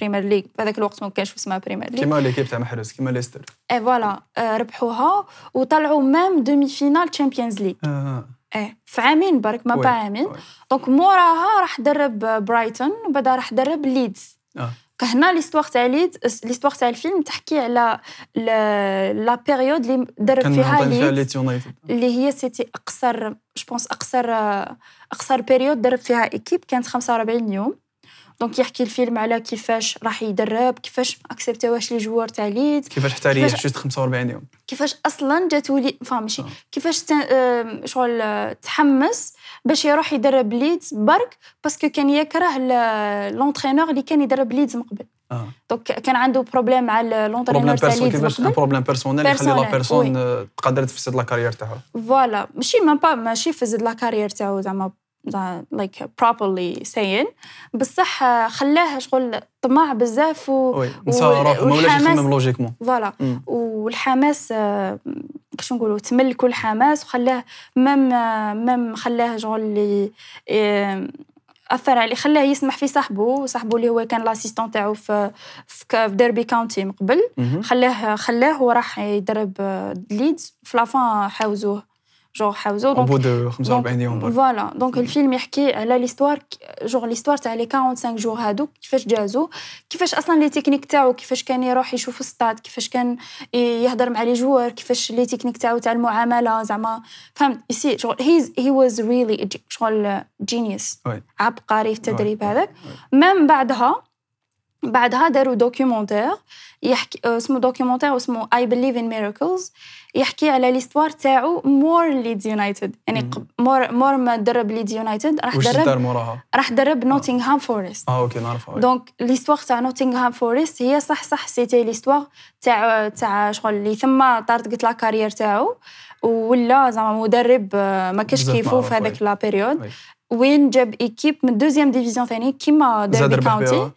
Speaker 2: بريمير ليغ في هذاك الوقت ما كانش اسمها بريمير ليغ
Speaker 3: كيما ليكيب تاع محرز كيما ليستر
Speaker 2: اي فوالا آه، ربحوها وطلعوا مام دومي فينال تشامبيونز ليغ
Speaker 3: آه.
Speaker 2: ايه في عامين برك ما
Speaker 3: وي،
Speaker 2: با عامين
Speaker 3: وي.
Speaker 2: دونك موراها راح درب برايتون وبعدها راح درب ليدز
Speaker 3: آه.
Speaker 2: هنا ليستوار تاع ليدز ليستوار تاع الفيلم تحكي على ل- لا بيريود اللي درب
Speaker 3: كان
Speaker 2: فيها
Speaker 3: عطاني فيها
Speaker 2: ليدز
Speaker 3: ليت يونايتد
Speaker 2: اللي هي سيتي اقصر جو بونس اقصر اقصر بيريود درب فيها ايكيب كانت 45 يوم دونك يحكي الفيلم على كيفاش راح يدرب كيفاش اكسبتواش لي جوار تاع ليدز
Speaker 3: كيفاش حتى ريح
Speaker 2: كيفاش-
Speaker 3: جوست 45 يوم
Speaker 2: كيفاش اصلا جاتو لي فا ماشي
Speaker 3: آه.
Speaker 2: كيفاش تا- آم، شغل آه، تحمس باش يروح يدرب ليدز برك باسكو كان يكره ال- لونترينور اللي كان يدرب ليدز من قبل
Speaker 3: آه.
Speaker 2: دونك كان عنده بروبليم مع ال-
Speaker 3: بروبليم
Speaker 2: لونترينور تاع
Speaker 3: بيرسون
Speaker 2: ليدز من
Speaker 3: كيفاش ان
Speaker 2: قبل
Speaker 3: بروبليم بيرسونيل يخلي لا
Speaker 2: Personnel,
Speaker 3: بيرسون آه، تقدر تفسد لا كارير تاعها
Speaker 2: فوالا ماشي ما با ماشي فزد لا كارير تاعو زعما لايك بروبرلي ساين بصح آه، خلاه شغل طماع بزاف و
Speaker 3: وي نسى روحه ما ولاش
Speaker 2: والحماس-
Speaker 3: يخمم لوجيكمون
Speaker 2: فوالا
Speaker 3: مم.
Speaker 2: والحماس آه، كيفاش نقولوا تملكوا الحماس وخلاه مام آه، مام خلاه شغل اللي آه، اثر عليه خلاه يسمح في صاحبه وصاحبه اللي هو كان لاسيستون تاعو في في ك- في ديربي كاونتي من قبل
Speaker 3: مهم.
Speaker 2: خلاه خلاه وراح يدرب آه، ليدز في لافان حاوزوه جو حاوزوه
Speaker 3: او
Speaker 2: دونك
Speaker 3: بو دو 45 يوم برك.
Speaker 2: فوالا دونك الفيلم يحكي على ليستوار ك- جوغ ليستوار تاع لي 45 جور هادو كيفاش جازو كيفاش اصلا لي تكنيك تاعو كيفاش كان يروح يشوف الستاد كيفاش كان ي- يهضر مع لي جوار كيفاش لي تكنيك تاعو تاع المعامله زعما فهمت يسي شغل هيز هي واز ريلي شغل جينيوس
Speaker 3: وي.
Speaker 2: عبقري في التدريب
Speaker 3: وي.
Speaker 2: هذاك مام بعدها بعدها داروا دوكيومونتير يحكي آه، اسمه دوكيومونتير اسمه اي بليف ان ميراكلز يحكي على ليستوار تاعو مور ليدز يونايتد يعني
Speaker 3: مم.
Speaker 2: قب- مور مور ما درب ليدز يونايتد راح
Speaker 3: واش
Speaker 2: درب
Speaker 3: دار موراها
Speaker 2: راح درب
Speaker 3: آه.
Speaker 2: نوتينغهام فورست
Speaker 3: اه اوكي نعرفها وي.
Speaker 2: دونك ليستوار تاع نوتينغهام فورست هي صح صح سيتي ليستوار تاع تاع شغل اللي ثم طارت قلت لا كارير تاعو ولا زعما مدرب آه، ما كاش
Speaker 3: بزاف
Speaker 2: كيفو
Speaker 3: معروف،
Speaker 2: في هذاك لا بيريود
Speaker 3: وي.
Speaker 2: وين جاب ايكيب من دوزيام ديفيزيون ثاني كيما
Speaker 3: زاد آه.
Speaker 2: ديربي
Speaker 3: ربح
Speaker 2: كاونتي
Speaker 3: بها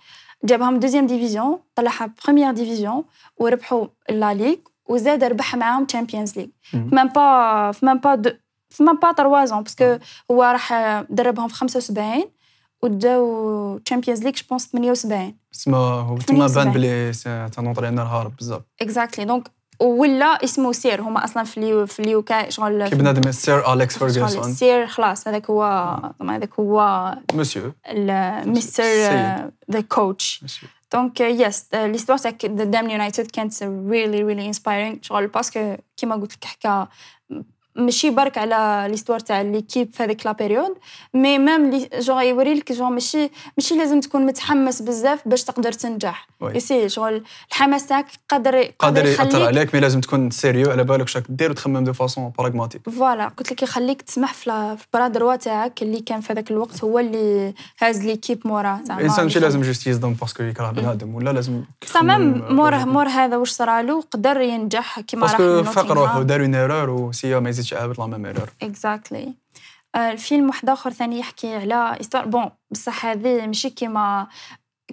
Speaker 2: جابهم دوزيام ديفيزيون طلعها بروميير ديفيزيون وربحوا لا ليغ وزاد ربح معاهم تشامبيونز ليغ
Speaker 3: مم.
Speaker 2: مام با في مام با دو في مام با تروا زون باسكو هو راح دربهم في 75 وداو تشامبيونز ليغ جو بونس 78
Speaker 3: تسمى هو تما بان
Speaker 2: 78.
Speaker 3: بلي سي تان اونترينور هارب بزاف
Speaker 2: اكزاكتلي دونك ولا اسمه سير هما اصلا في اليو في اليو كاي شغل
Speaker 3: كي بنادم سير اليكس
Speaker 2: شغل
Speaker 3: فيرغسون
Speaker 2: سير خلاص هذاك هو هذاك هو
Speaker 3: مسيو
Speaker 2: مستر
Speaker 3: سيد.
Speaker 2: ذا كوتش
Speaker 3: مسيو.
Speaker 2: دونك يس ليستوار تاع دام يونايتد كانت ريلي ريلي انسبايرينغ شغل باسكو كيما قلت لك حكا ماشي برك على ليستوار تاع ليكيب في هذيك لا بيريود مي ميم لي- جونغ يوريلك جونغ ماشي ماشي لازم تكون متحمس بزاف باش تقدر تنجح
Speaker 3: وي.
Speaker 2: يسي شغل الحماس تاعك قادر
Speaker 3: قادر ياثر
Speaker 2: يخليك
Speaker 3: عليك مي لازم تكون سيريو على بالك شاك دير وتخمم دو فاسون براغماتيك
Speaker 2: فوالا قلت لك يخليك تسمح في لا- في برا دروا تاعك اللي كان في هذاك الوقت هو اللي هاز ليكيب موراه زعما
Speaker 3: الانسان ماشي لازم جوست يصدم باسكو يكره بنادم ولا لازم
Speaker 2: سامام مور آه. مور هذا واش صرالو قدر ينجح كيما راح
Speaker 3: باسكو فاق روحه دار اون ايرور وسيا E ما يزيدش عابد لا ميم ايرور
Speaker 2: اكزاكتلي آه، الفيلم واحد اخر ثاني يحكي على استوار بون بصح هذه ماشي كيما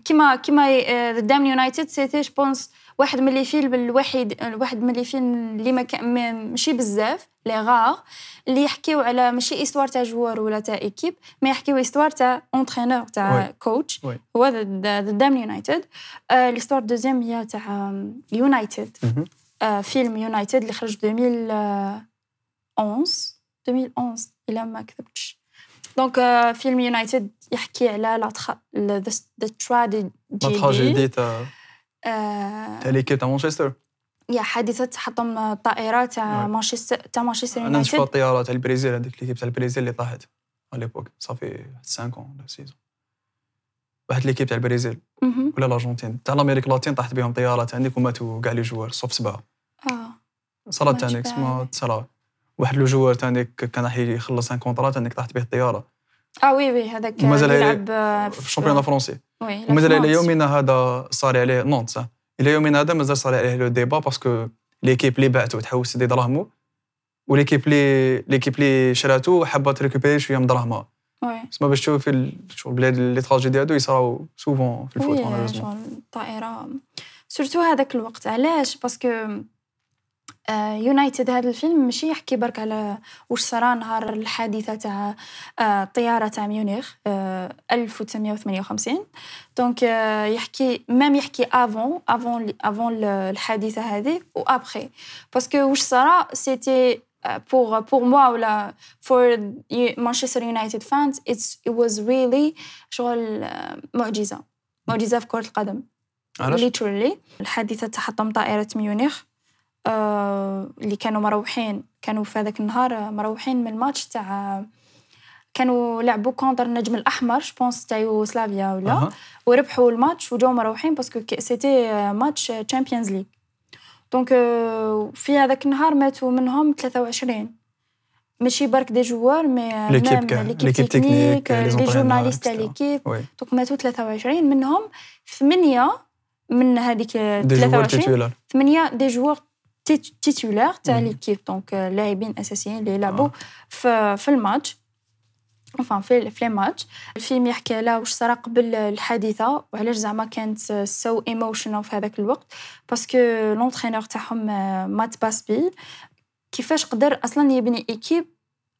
Speaker 2: كيما كيما آه، دام يونايتد سيتي جو بونس واحد من لي فيلم الوحيد واحد من لي فيلم اللي ما كان ما- ماشي بزاف لي غار اللي يحكيو على ماشي استوار تاع جوار ولا تاع ايكيب ما يحكيو استوار تاع اونترينور تاع
Speaker 3: وي.
Speaker 2: كوتش
Speaker 3: وي.
Speaker 2: هو ذا دام يونايتد ليستوار دوزيام آه، هي تاع يونايتد
Speaker 3: مهم.
Speaker 2: آه، فيلم يونايتد اللي خرج 2011 2011 الا ما كذبتش دونك آه، فيلم يونايتد يحكي على لا تخ... ذا
Speaker 3: لا تراجيدي
Speaker 2: تراجيدي
Speaker 3: تاع
Speaker 2: آه،
Speaker 3: تاع ليكيب تاع مانشستر
Speaker 2: يا حادثة تحطم الطائرة تاع
Speaker 3: نعم.
Speaker 2: مانشستر تاع مانشستر
Speaker 3: انا نشوف
Speaker 2: يونايتد
Speaker 3: الطياره تاع البرازيل هذيك ليكيب تاع البرازيل اللي طاحت على ليبوك صافي 5 ans ولا 6 ans. واحد ليكيب تاع البرازيل
Speaker 2: مهم.
Speaker 3: ولا الارجنتين تاع لامريك لاتين طاحت بهم طيارات عندك وماتوا كاع لي جوار صوف سبعه
Speaker 2: آه.
Speaker 3: صارت
Speaker 2: ما
Speaker 3: تانيك
Speaker 2: شفت
Speaker 3: سما
Speaker 2: هذه.
Speaker 3: تصرا واحد لو جوار تانيك كان راح يخلص ان كونترا تانيك طاحت به الطياره
Speaker 2: اه وي وي هذاك
Speaker 3: ومازال هي-
Speaker 2: يلعب آه،
Speaker 3: في الشامبيون الفرنسي
Speaker 2: وي، يلعب في
Speaker 3: ومازال الى
Speaker 2: نانت.
Speaker 3: يومنا هذا صار عليه نونت صح الى يومنا هذا مازال صار عليه لو ديبا باسكو ليكيب اللي بعته تحوس دي دراهمو وليكيب اللي ليكيب اللي شراتو حابه تريكوبيري شويه من دراهمها
Speaker 2: وي
Speaker 3: تسمى باش تشوف شغل بلاد لي تراجيدي هادو يصراو سوفون في الفوت
Speaker 2: وي
Speaker 3: مالوريزمون
Speaker 2: شغل الطائرة سورتو هذاك الوقت علاش باسكو آه، يونايتد هذا الفيلم ماشي يحكي برك على واش صرا نهار الحادثة تاع آه، الطيارة تاع ميونيخ آه، 1958 دونك آه، يحكي مام يحكي افون افون افون الحادثة هذه و ابخي باسكو واش صرا سيتي pour pour moi ولا for the Manchester United fans it's it was really شغل آه، معجزة معجزه في كره القدم
Speaker 3: علاش
Speaker 2: literally الحادثه تحطم طائره ميونيخ آه، اللي كانوا مروحين كانوا في هذاك النهار آه، مروحين من الماتش تاع كانوا لعبوا كونتر النجم الاحمر جوبونس تاع يوغوسلافيا ولا
Speaker 3: أها.
Speaker 2: وربحوا الماتش وجاو مروحين باسكو كي- سيتي آه، ماتش تشامبيونز ليغ دونك آه، في هذاك النهار ماتوا منهم 23 ماشي برك دي جوار مي آه،
Speaker 3: ليكيب
Speaker 2: مام
Speaker 3: كاع.
Speaker 2: ليكيب
Speaker 3: ليكيب
Speaker 2: تكنيك
Speaker 3: تكنيك،
Speaker 2: آه،
Speaker 3: لي
Speaker 2: لي
Speaker 3: زونترينور،
Speaker 2: جورناليست تاع
Speaker 3: إتسيتيرا.
Speaker 2: ليكيب
Speaker 3: وي
Speaker 2: دوك ماتوا 23 منهم ثمانية من هذيك
Speaker 3: دي جوار
Speaker 2: 23
Speaker 3: تيتولار
Speaker 2: ثمانية دي جوار تيت- تيتولار تاع
Speaker 3: مم.
Speaker 2: ليكيب دونك آه، لاعبين اساسيين اللي يلعبوا
Speaker 3: آه.
Speaker 2: في في الماتش enfin في في لي ماتش الفيلم يحكي على واش صرا قبل الحادثه وعلاش زعما كانت سو ايموشنال في هذاك الوقت باسكو لونترينور تاعهم آه، مات باسبي كيفاش قدر اصلا يبني ايكيب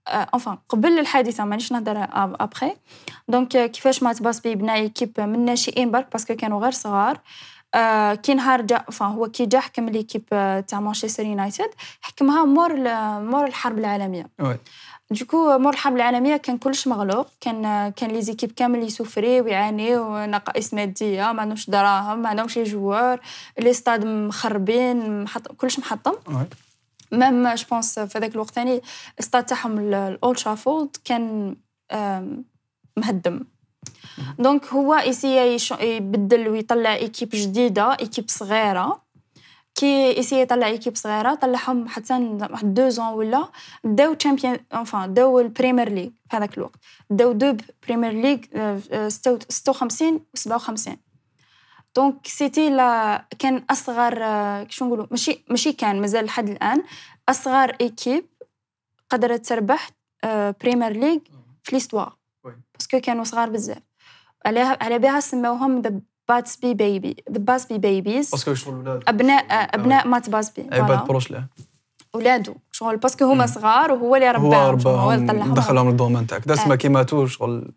Speaker 2: انفان قبل الحادثه مانيش نهضر ابخي دونك آه، كيفاش مات باسبي بنا ايكيب من ناشئين برك باسكو كانوا غير صغار آه، كي نهار جا enfin هو كي جا حكم ليكيب آه، تاع مانشستر يونايتد حكمها مور ال- مور الحرب العالميه
Speaker 3: وي
Speaker 2: دوكو مور الحرب العالميه كان كلش مغلوق كان آه، كان لي زيكيب كامل يسوفري ويعانيو نقائص ماديه ما عندهمش دراهم ما عندهمش لي جوار لي ستاد مخربين محط... كلش محطم
Speaker 3: وي
Speaker 2: ميم جو بونس في هذاك الوقت ثاني الستاد تاعهم ال- الاولد شافولد كان آم، مهدم دونك هو يسيا يش- يبدل ويطلع ايكيب جديده ايكيب صغيره كي يسيا يطلع ايكيب صغيره طلعهم حتى ن- واحد دو زون ولا داو تشامبيون انفان داو البريمير ليغ في هذاك الوقت داو دو بريمير ليغ آه، آه، 56 و 57 دونك سيتي لا كان اصغر آه، شو نقولوا ماشي ماشي كان مازال لحد الان اصغر ايكيب قدرت تربح آه، بريمير ليغ في ليستوار
Speaker 3: وي.
Speaker 2: باسكو كانوا صغار بزاف على على بها سموهم ذا باتسبي بيبي ذا باسبي بيبيز
Speaker 3: باسكو شغل ولاد
Speaker 2: ابناء آه، ابناء مات باسبي
Speaker 3: يعني عباد
Speaker 2: فوالا.
Speaker 3: بروش له
Speaker 2: ولادو شغل باسكو هما
Speaker 3: مم.
Speaker 2: صغار وهو اللي
Speaker 3: هو
Speaker 2: رباهم شغل هو اللي
Speaker 3: رباهم
Speaker 2: طلعهم
Speaker 3: دخلهم للدومين تاعك دا
Speaker 2: آه.
Speaker 3: سما كي ماتوا شغل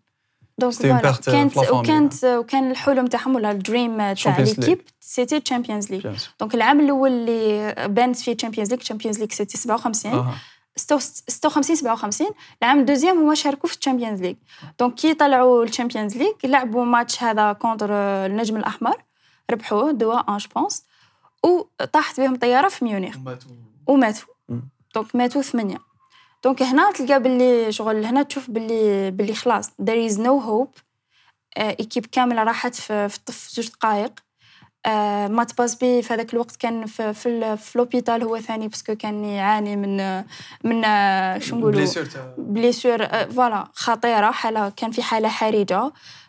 Speaker 2: دونك
Speaker 3: C'était une
Speaker 2: فوالا
Speaker 3: perte, euh,
Speaker 2: كانت
Speaker 3: pour la famille,
Speaker 2: وكانت وكان الحلم تاعهم ولا الدريم تاع
Speaker 3: Champions League.
Speaker 2: ليكيب سيتي تشامبيونز ليغ
Speaker 3: بيان سور.
Speaker 2: دونك العام الاول اللي بانت فيه تشامبيونز ليغ تشامبيونز ليغ سيتي 57
Speaker 3: أها.
Speaker 2: 56 57 العام الدوزيام هما شاركوا في الشامبيونز ليغ دونك كي طلعوا الشامبيونز ليغ لعبوا ماتش هذا كونتر النجم الاحمر ربحوه دوا ان جو بونس وطاحت بهم طياره في ميونيخ وماتوا
Speaker 3: مم.
Speaker 2: دونك ماتوا ثمانيه دونك هنا تلقى باللي شغل هنا تشوف باللي باللي خلاص there is no hope آه، ايكيب كامله راحت في في الطف زوج دقائق آه، مات باسبي في هذاك الوقت كان في في, ال- في لوبيتال هو ثاني باسكو كان يعاني من من آه، شو نقولوا
Speaker 3: بليسير تاع
Speaker 2: بليسور آه، فوالا خطيره حاله كان في حاله حرجه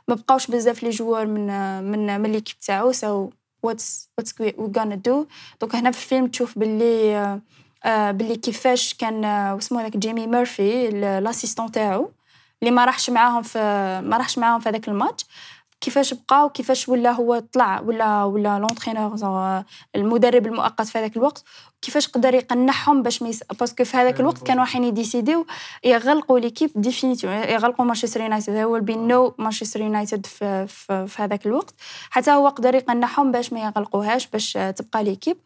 Speaker 2: ما بقاوش بزاف لي جوار من آه، من من ليكيب تاعو سو واتس واتس وي غانا دو دونك هنا في الفيلم تشوف باللي آه، آه، باللي كيفاش كان آه، واسمو هذاك جيمي ميرفي ال- لاسيستون تاعو اللي ما راحش معاهم في ما راحش معاهم في هذاك الماتش كيفاش بقى وكيفاش ولا هو طلع ولا ولا لونترينور زعما المدرب المؤقت في هذاك الوقت كيفاش قدر يقنعهم باش ما يس... باسكو في هذاك الوقت كانوا رايحين يديسيديو يغلقوا ليكيب ديفينيتيف يغلقوا مانشستر يونايتد هو بي نو مانشستر يونايتد في, في, في هذاك الوقت حتى هو قدر يقنعهم باش ما يغلقوهاش باش آه، تبقى ليكيب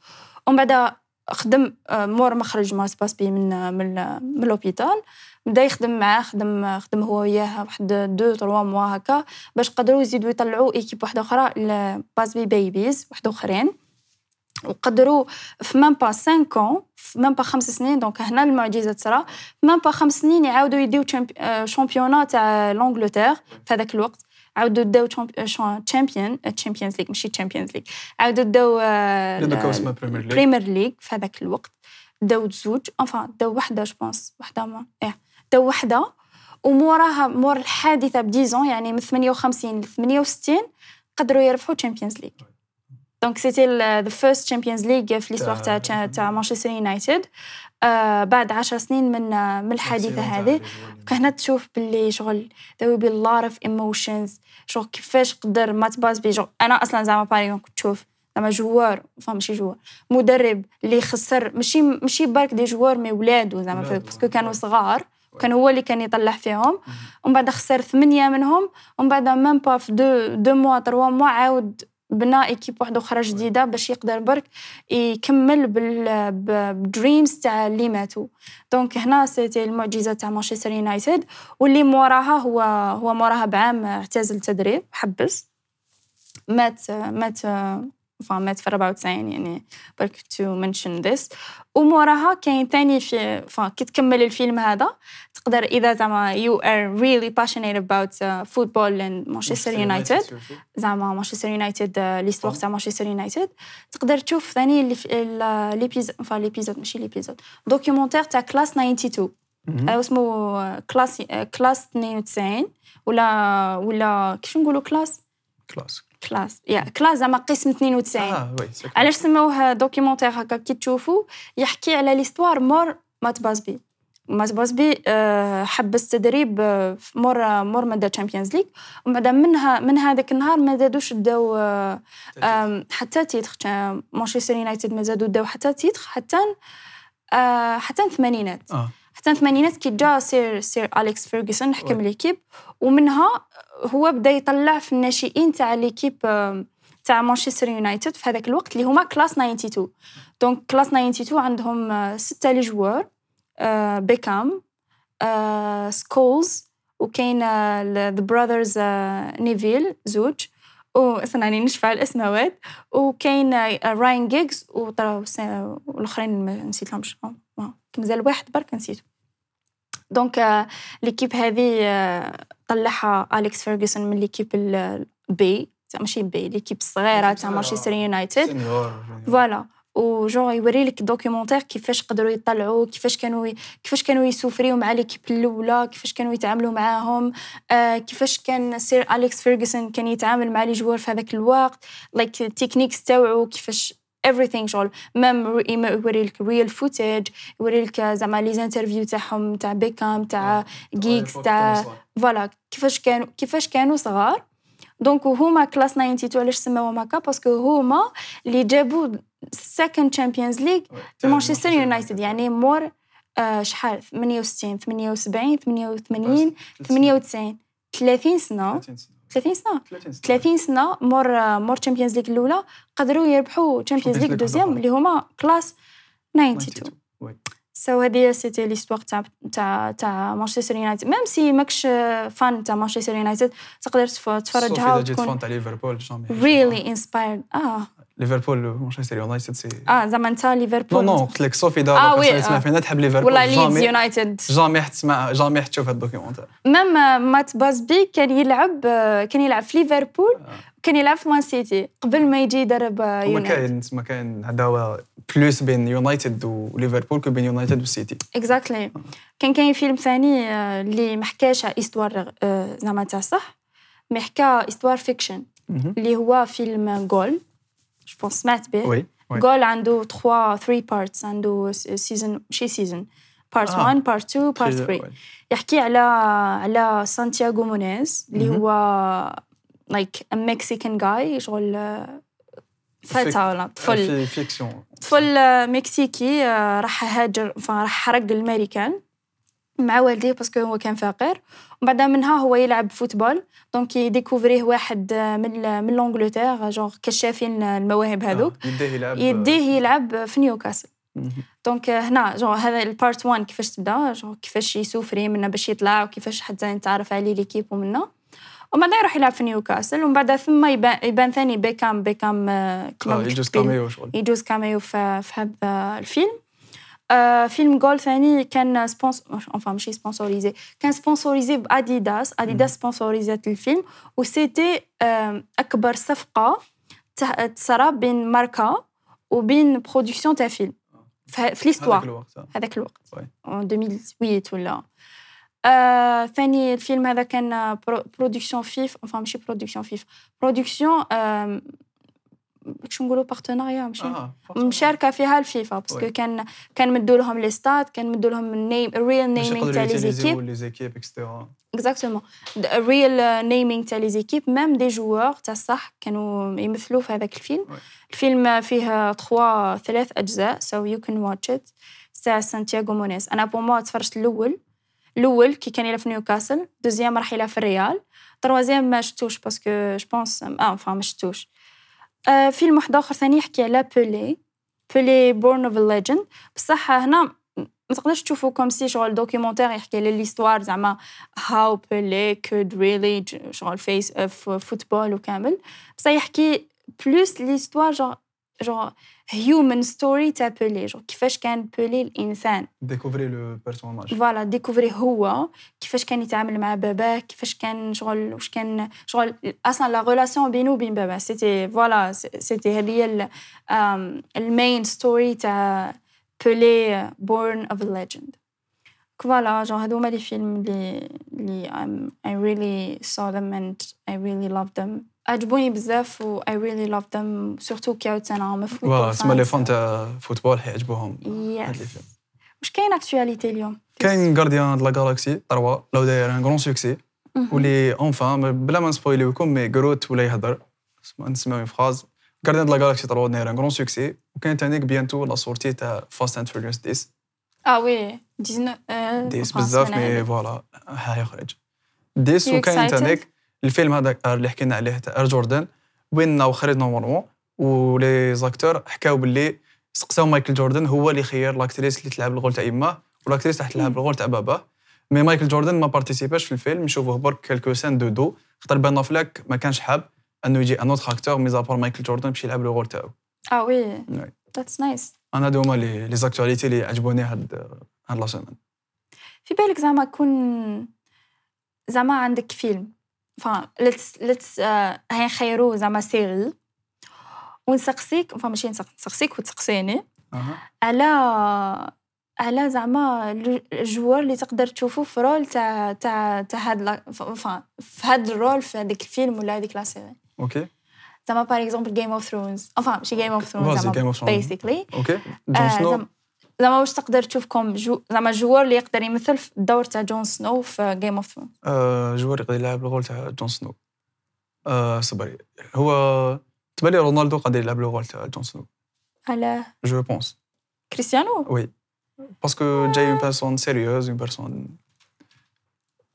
Speaker 2: ومن بعد خدم آه، مور مخرج ما سباس بي من آه، من آه، من لوبيتال بدا يخدم معاه خدم آه، خدم هو وياه واحد دو تروا موا هكا باش قدروا يزيدوا يطلعوا ايكيب واحده اخرى باس بي بيبيز واحد اخرين وقدروا في مام با 5 كون في مام با خمس سنين دونك هنا المعجزه تصرى في مام با خمس سنين يعاودوا يديو تشامب- آه، شامبيونا تاع لونجلتير في هذاك الوقت عاودوا داو آه، تشامبيون تشامبيونز ليغ آه، ماشي تشامبيونز ليغ عاودوا داو آه،
Speaker 3: دوكا
Speaker 2: ال-
Speaker 3: اسمها بريمير ليج
Speaker 2: بريمير ليغ في هذاك الوقت داو زوج انفان داو وحده جو بونس وحده ما ايه داو وحده وموراها مور الحادثه بديزون يعني من 58 ل 68 قدروا يربحوا تشامبيونز ليغ دونك سيتي ذا فيرست تشامبيونز ليغ في ليستوار تاع تاع- تاع مانشستر يونايتد آه بعد 10 سنين من آه، من الحادثه هذه هنا تشوف باللي شغل there will be a lot of emotions شغل كيفاش قدر ما تباز بي شغل انا اصلا زعما باري كنت تشوف زعما جوار فا ماشي جوار مدرب اللي خسر ماشي ماشي برك دي جوار مي ولادو زعما
Speaker 3: ولادو،
Speaker 2: فهمت؟ باسكو كانوا صغار كان هو اللي كان يطلع فيهم ومن بعد خسر ثمانية منهم ومن بعد ميم با في دو دو موا تروا موا عاود بنا ايكيب واحدة أخرى جديدة باش يقدر برك يكمل بال بالدريمز تاع اللي ماتوا دونك هنا سيتي المعجزة تاع مانشستر يونايتد واللي موراها هو هو موراها بعام اعتزل التدريب حبس مات مات فا مات في 94 يعني برك تو منشن ذس وموراها كاين ثاني في فا كي تكمل الفيلم هذا تقدر اذا زعما يو ار ريلي passionate about uh، فوتبول اند مانشستر يونايتد زعما مانشستر يونايتد ليستوار تاع مانشستر يونايتد تقدر تشوف ثاني اللي في- ال- ليبيز فا ليبيزود ماشي ليبيزود دوكيومونتير تاع كلاس 92
Speaker 3: مهم.
Speaker 2: هذا اسمه كلاس كلاس 92 ولا ولا كيفاش نقولوا كلاس
Speaker 3: كلاس
Speaker 2: كلاس يا كلاس زعما قسم 92
Speaker 3: اه وي سي
Speaker 2: علاش سموه دوكيومونتير هكا كي تشوفوا يحكي على ليستوار مور مات بازبي مات بازبي آه، حبس تدريب آه، في مور آه، مور مدى تشامبيونز ليغ ومن بعد منها من هذاك النهار ما زادوش داو آه، آم، حتى تيتخ تا- مانشستر يونايتد ما زادو داو حتى تيتخ حتى آه، حتى الثمانينات
Speaker 3: اه
Speaker 2: حتى الثمانينات كي جا سير سير اليكس فيرغسون حكم ليكيب ومنها هو بدا يطلع في الناشئين تاع ليكيب آم، تاع مانشستر يونايتد في هذاك الوقت اللي هما كلاس 92 دونك كلاس 92 عندهم آه، سته لي جوار آه، بيكام آه، سكولز وكاين آه، ذا براذرز نيفيل آه، زوج وصنعني نشفع الاسماوات وكاين آه، راين جيجز وطلعوا سا- والاخرين ما نسيتهمش آه، مازال واحد برك نسيته دونك آه، ليكيب هذه آه، طلعها اليكس فيرغسون من ليكيب ال- البي تاع- ماشي بي ليكيب الصغيره تاع
Speaker 3: صغيرة.
Speaker 2: مانشستر يونايتد
Speaker 3: سينيور
Speaker 2: فوالا وجون يوري لك دوكيومونتير كيفاش قدروا يطلعوا كيفاش كانوا ي- كيفاش كانوا يسوفريو مع ليكيب الاولى كيفاش كانوا يتعاملوا معاهم آه كيفاش كان سير اليكس فيرغسون كان يتعامل مع لي جوار في هذاك الوقت لايك التكنيكس تاوعو كيفاش everything شغل مام يوري لك ريل فوتاج يوري لك زعما لي انترفيو تاعهم تاع بيكام تاع جيكس تاع فوالا كيفاش كانوا كيفاش كانوا صغار دونك هما كلاس 92 علاش سماوهم هكا باسكو هما اللي جابوا سكند تشامبيونز ليغ مانشستر يونايتد يعني مور آه، شحال 68 78 88 98 30 سنه 30 سنه 30 سنه مور مور تشامبيونز ليغ الاولى قدروا يربحوا تشامبيونز
Speaker 3: Champions
Speaker 2: ليغ
Speaker 3: League
Speaker 2: دوزيام
Speaker 3: واحدة.
Speaker 2: اللي هما كلاس 92
Speaker 3: 92 وي
Speaker 2: سو هذه سيتي ليستوار تاع تاع تاع مانشستر يونايتد ميم سي ماكش فان تاع مانشستر يونايتد تقدر تف-
Speaker 3: تفرجها
Speaker 2: تفرجها
Speaker 3: وتكون
Speaker 2: وتكون
Speaker 3: تاع ليفربول جامي
Speaker 2: ريلي انسبايرد اه
Speaker 3: ليفربول مانشستر يونايتد سي
Speaker 2: اه زعما انت
Speaker 3: نو
Speaker 2: ليفربول
Speaker 3: نو قلت لك صوفي دابا
Speaker 2: آه،
Speaker 3: بيرسون
Speaker 2: وي،
Speaker 3: اللي تسمع
Speaker 2: آه.
Speaker 3: فينا تحب ليفربول
Speaker 2: ولا ليدز
Speaker 3: جامي
Speaker 2: يونايتد
Speaker 3: جامي حتسمع جامي حتشوف هاد الدوكيومونتير
Speaker 2: ميم آه، مات بازبي كان يلعب آه، كان يلعب في ليفربول
Speaker 3: آه.
Speaker 2: وكان يلعب في مان سيتي قبل ما يجي يدرب آه،
Speaker 3: هو
Speaker 2: يونايتد
Speaker 3: كاين تسمى كاين عداوه بلوس بين يونايتد وليفربول كو بين يونايتد والسيتي
Speaker 2: Eh, اكزاكتلي كان كاين فيلم ثاني آه، اللي ما حكاش على ايستوار آه، زعما تاع صح مي حكى ايستوار فيكشن
Speaker 3: مهم.
Speaker 2: اللي هو فيلم جول جو بونس سمعت به
Speaker 3: وي وي
Speaker 2: جول عنده 3 3 بارتس عنده سيزون شي سيزون بارت
Speaker 3: آه.
Speaker 2: 1 بارت 2 بارت
Speaker 3: شي-
Speaker 2: 3
Speaker 3: وي.
Speaker 2: يحكي على على سانتياغو مونيز اللي
Speaker 3: مهم.
Speaker 2: هو لايك مكسيكان جاي شغل آه،
Speaker 3: فيك-
Speaker 2: فتى ولا طفل
Speaker 3: في فيكسيون
Speaker 2: طفل آه، مكسيكي آه، راح هاجر فراح حرق الميريكان مع والديه باسكو هو كان فقير وبعد منها هو يلعب فوتبول دونك يديكوفريه واحد آه، من ال- من لونجلتير جونغ كشافين المواهب هذوك
Speaker 3: آه، يديه يلعب
Speaker 2: يديه يلعب في نيوكاسل
Speaker 3: مهم.
Speaker 2: دونك هنا جو هذا البارت 1 كيفاش تبدا جو كيفاش يسوفري منه باش يطلع وكيفاش حتى نتعرف عليه ليكيب ومنه ومن بعد يروح يلعب في نيوكاسل ومن بعد ثم يبان, يبان ثاني بيكام بيكام آه، كما
Speaker 3: آه،
Speaker 2: قلت
Speaker 3: يجوز
Speaker 2: لك بال-
Speaker 3: كاميو شغل
Speaker 2: يجوز كاميو في, في هذا الفيلم آه فيلم جول ثاني كان سبونس انفا ماشي سبونسوريزي كان سبونسوريزي باديداس اديداس سبونسوريزات الفيلم وسيتي آه اكبر صفقه ت- تصرى بين ماركا وبين برودكسيون تاع فيلم في في
Speaker 3: هذاك
Speaker 2: ليستوار
Speaker 3: الوقت آه.
Speaker 2: هذاك الوقت
Speaker 3: وي.
Speaker 2: en 2008 ولا آه ثاني الفيلم هذا كان برو- برودكسيون فيف انفا ماشي برودكسيون فيف برودكسيون آه شو نقولوا بارتناريا ماشي
Speaker 3: آه،
Speaker 2: مشاركه فيها الفيفا باسكو
Speaker 3: وي.
Speaker 2: كان كان مدوا لهم لي ستات كان مدوا لهم النيم الريل
Speaker 3: باش
Speaker 2: نيمينغ
Speaker 3: يقدروا
Speaker 2: تاع لي
Speaker 3: يوتيليزيو
Speaker 2: زيكيب
Speaker 3: لي زيكيب اكسترا
Speaker 2: اكزاكتومون الريل نيمينغ تاع لي زيكيب ميم دي جوار تاع صح كانوا يمثلوا في هذاك الفيلم
Speaker 3: وي.
Speaker 2: الفيلم فيه تخوا ثلاث اجزاء سو يو كان واتش ات تاع سانتياغو مونيس انا بو موا تفرجت الاول الاول كي كان يلعب في نيوكاسل دوزيام راح يلعب في الريال تروازيام ما شفتوش باسكو جو بونس اه فا ما شفتوش آه فيلم واحد اخر ثاني يحكي على بيلي بيلي بورن اوف ليجند بصح هنا ما تقدرش تشوفو كوم سي شغل دوكيومونتير يحكي على ليستوار زعما هاو بيلي كود ريلي شغل فيس اوف فوتبول وكامل بصح يحكي بلوس ليستوار جون جون هيومن ستوري تاع بيلي جون كيفاش كان بيلي الانسان
Speaker 3: ديكوفري لو بيرسوناج
Speaker 2: فوالا ديكوفري هو كيفاش كان يتعامل مع باباه كيفاش كان شغل واش كان شغل اصلا لا ريلاسيون بينه وبين باباه سيتي فوالا سيتي هذه هي ال- آم، المين ستوري تاع بيلي بورن اوف ليجند فوالا جون هادو هما لي فيلم اللي اللي I'm- euh, I really saw them and I really loved them عجبوني بزاف و I really loved them سورتو كي عاودت انا مفروض
Speaker 3: فوالا تسمى لي فون تاع فوتبول حيعجبوهم هاد لي
Speaker 2: يس
Speaker 3: فيلم.
Speaker 2: واش كاين اكتواليتي اليوم
Speaker 3: كاين غارديان د لا غالاكسي 3 لو داير ان كرون سوكسي
Speaker 2: مهم.
Speaker 3: واللي اونفان بلا ما نسبويليوكم مي غروت ولا يهضر اسمع- نسمعو اون فراز غارديان د لا غالاكسي 3 داير ان كرون سوكسي وكاين تانيك بيانتو لا سورتي تاع فاست اند فيريوس 10
Speaker 2: اه وي 19 آه،
Speaker 3: 10
Speaker 2: خلاص،
Speaker 3: بزاف
Speaker 2: أنا
Speaker 3: مي
Speaker 2: عندي.
Speaker 3: فوالا ها يخرج 10
Speaker 2: You
Speaker 3: وكاين
Speaker 2: excited?
Speaker 3: تانيك الفيلم هذاك اللي حكينا عليه تاع ار جوردن وين هو خرج نورمالمون ولي زاكتور حكاو باللي سقساو مايكل جوردن هو اللي خير لاكتريس اللي تلعب الغول تاع يماه ولاكتريس راح تلعب الغول تاع باباه مي مايكل جوردن ما بارتيسيباش في الفيلم نشوفوه برك كالكو سان دو دو خاطر بان افلاك ما كانش حاب انه يجي ان اوتر اكتور ميزابور مايكل جوردن باش يلعب لو رول تاعو
Speaker 2: اه وي
Speaker 3: وي.
Speaker 2: ذاتس نايس
Speaker 3: انا هادو هما لي لي زاكتواليتي اللي عجبوني هاد هاد لا سيمين
Speaker 2: في بالك زعما كون زعما عندك فيلم فا ليتس ليتس euh, هاي نخيرو زعما سيري ونسقسيك فا ماشي نسق- نسقسيك وتسقسيني
Speaker 3: أها.
Speaker 2: على على زعما الج- الجوار اللي تقدر تشوفه في رول تاع تاع تاع هاد لا فا في هاد الرول في هذاك الفيلم ولا هذيك لا سيري
Speaker 3: اوكي
Speaker 2: زعما باغ اكزومبل جيم اوف ثرونز انفا ماشي جيم اوف
Speaker 3: Vas-y,
Speaker 2: ثرونز
Speaker 3: Game
Speaker 2: زعما
Speaker 3: of Thrones.
Speaker 2: بيسيكلي
Speaker 3: اوكي
Speaker 2: آه،
Speaker 3: جون سنو
Speaker 2: زعما- زعما واش تقدر تشوف كوم جو زعما جوار اللي يقدر يمثل في الدور تاع جون سنو في جيم اوف ثرونز
Speaker 3: آه، جوار يقدر يلعب الغول تاع جون سنو آه، صبري هو تبالي رونالدو قادر يلعب الغول تاع جون سنو
Speaker 2: على
Speaker 3: جو بونس
Speaker 2: كريستيانو
Speaker 3: وي باسكو جاي اون بيرسون سيريوز اون بيرسون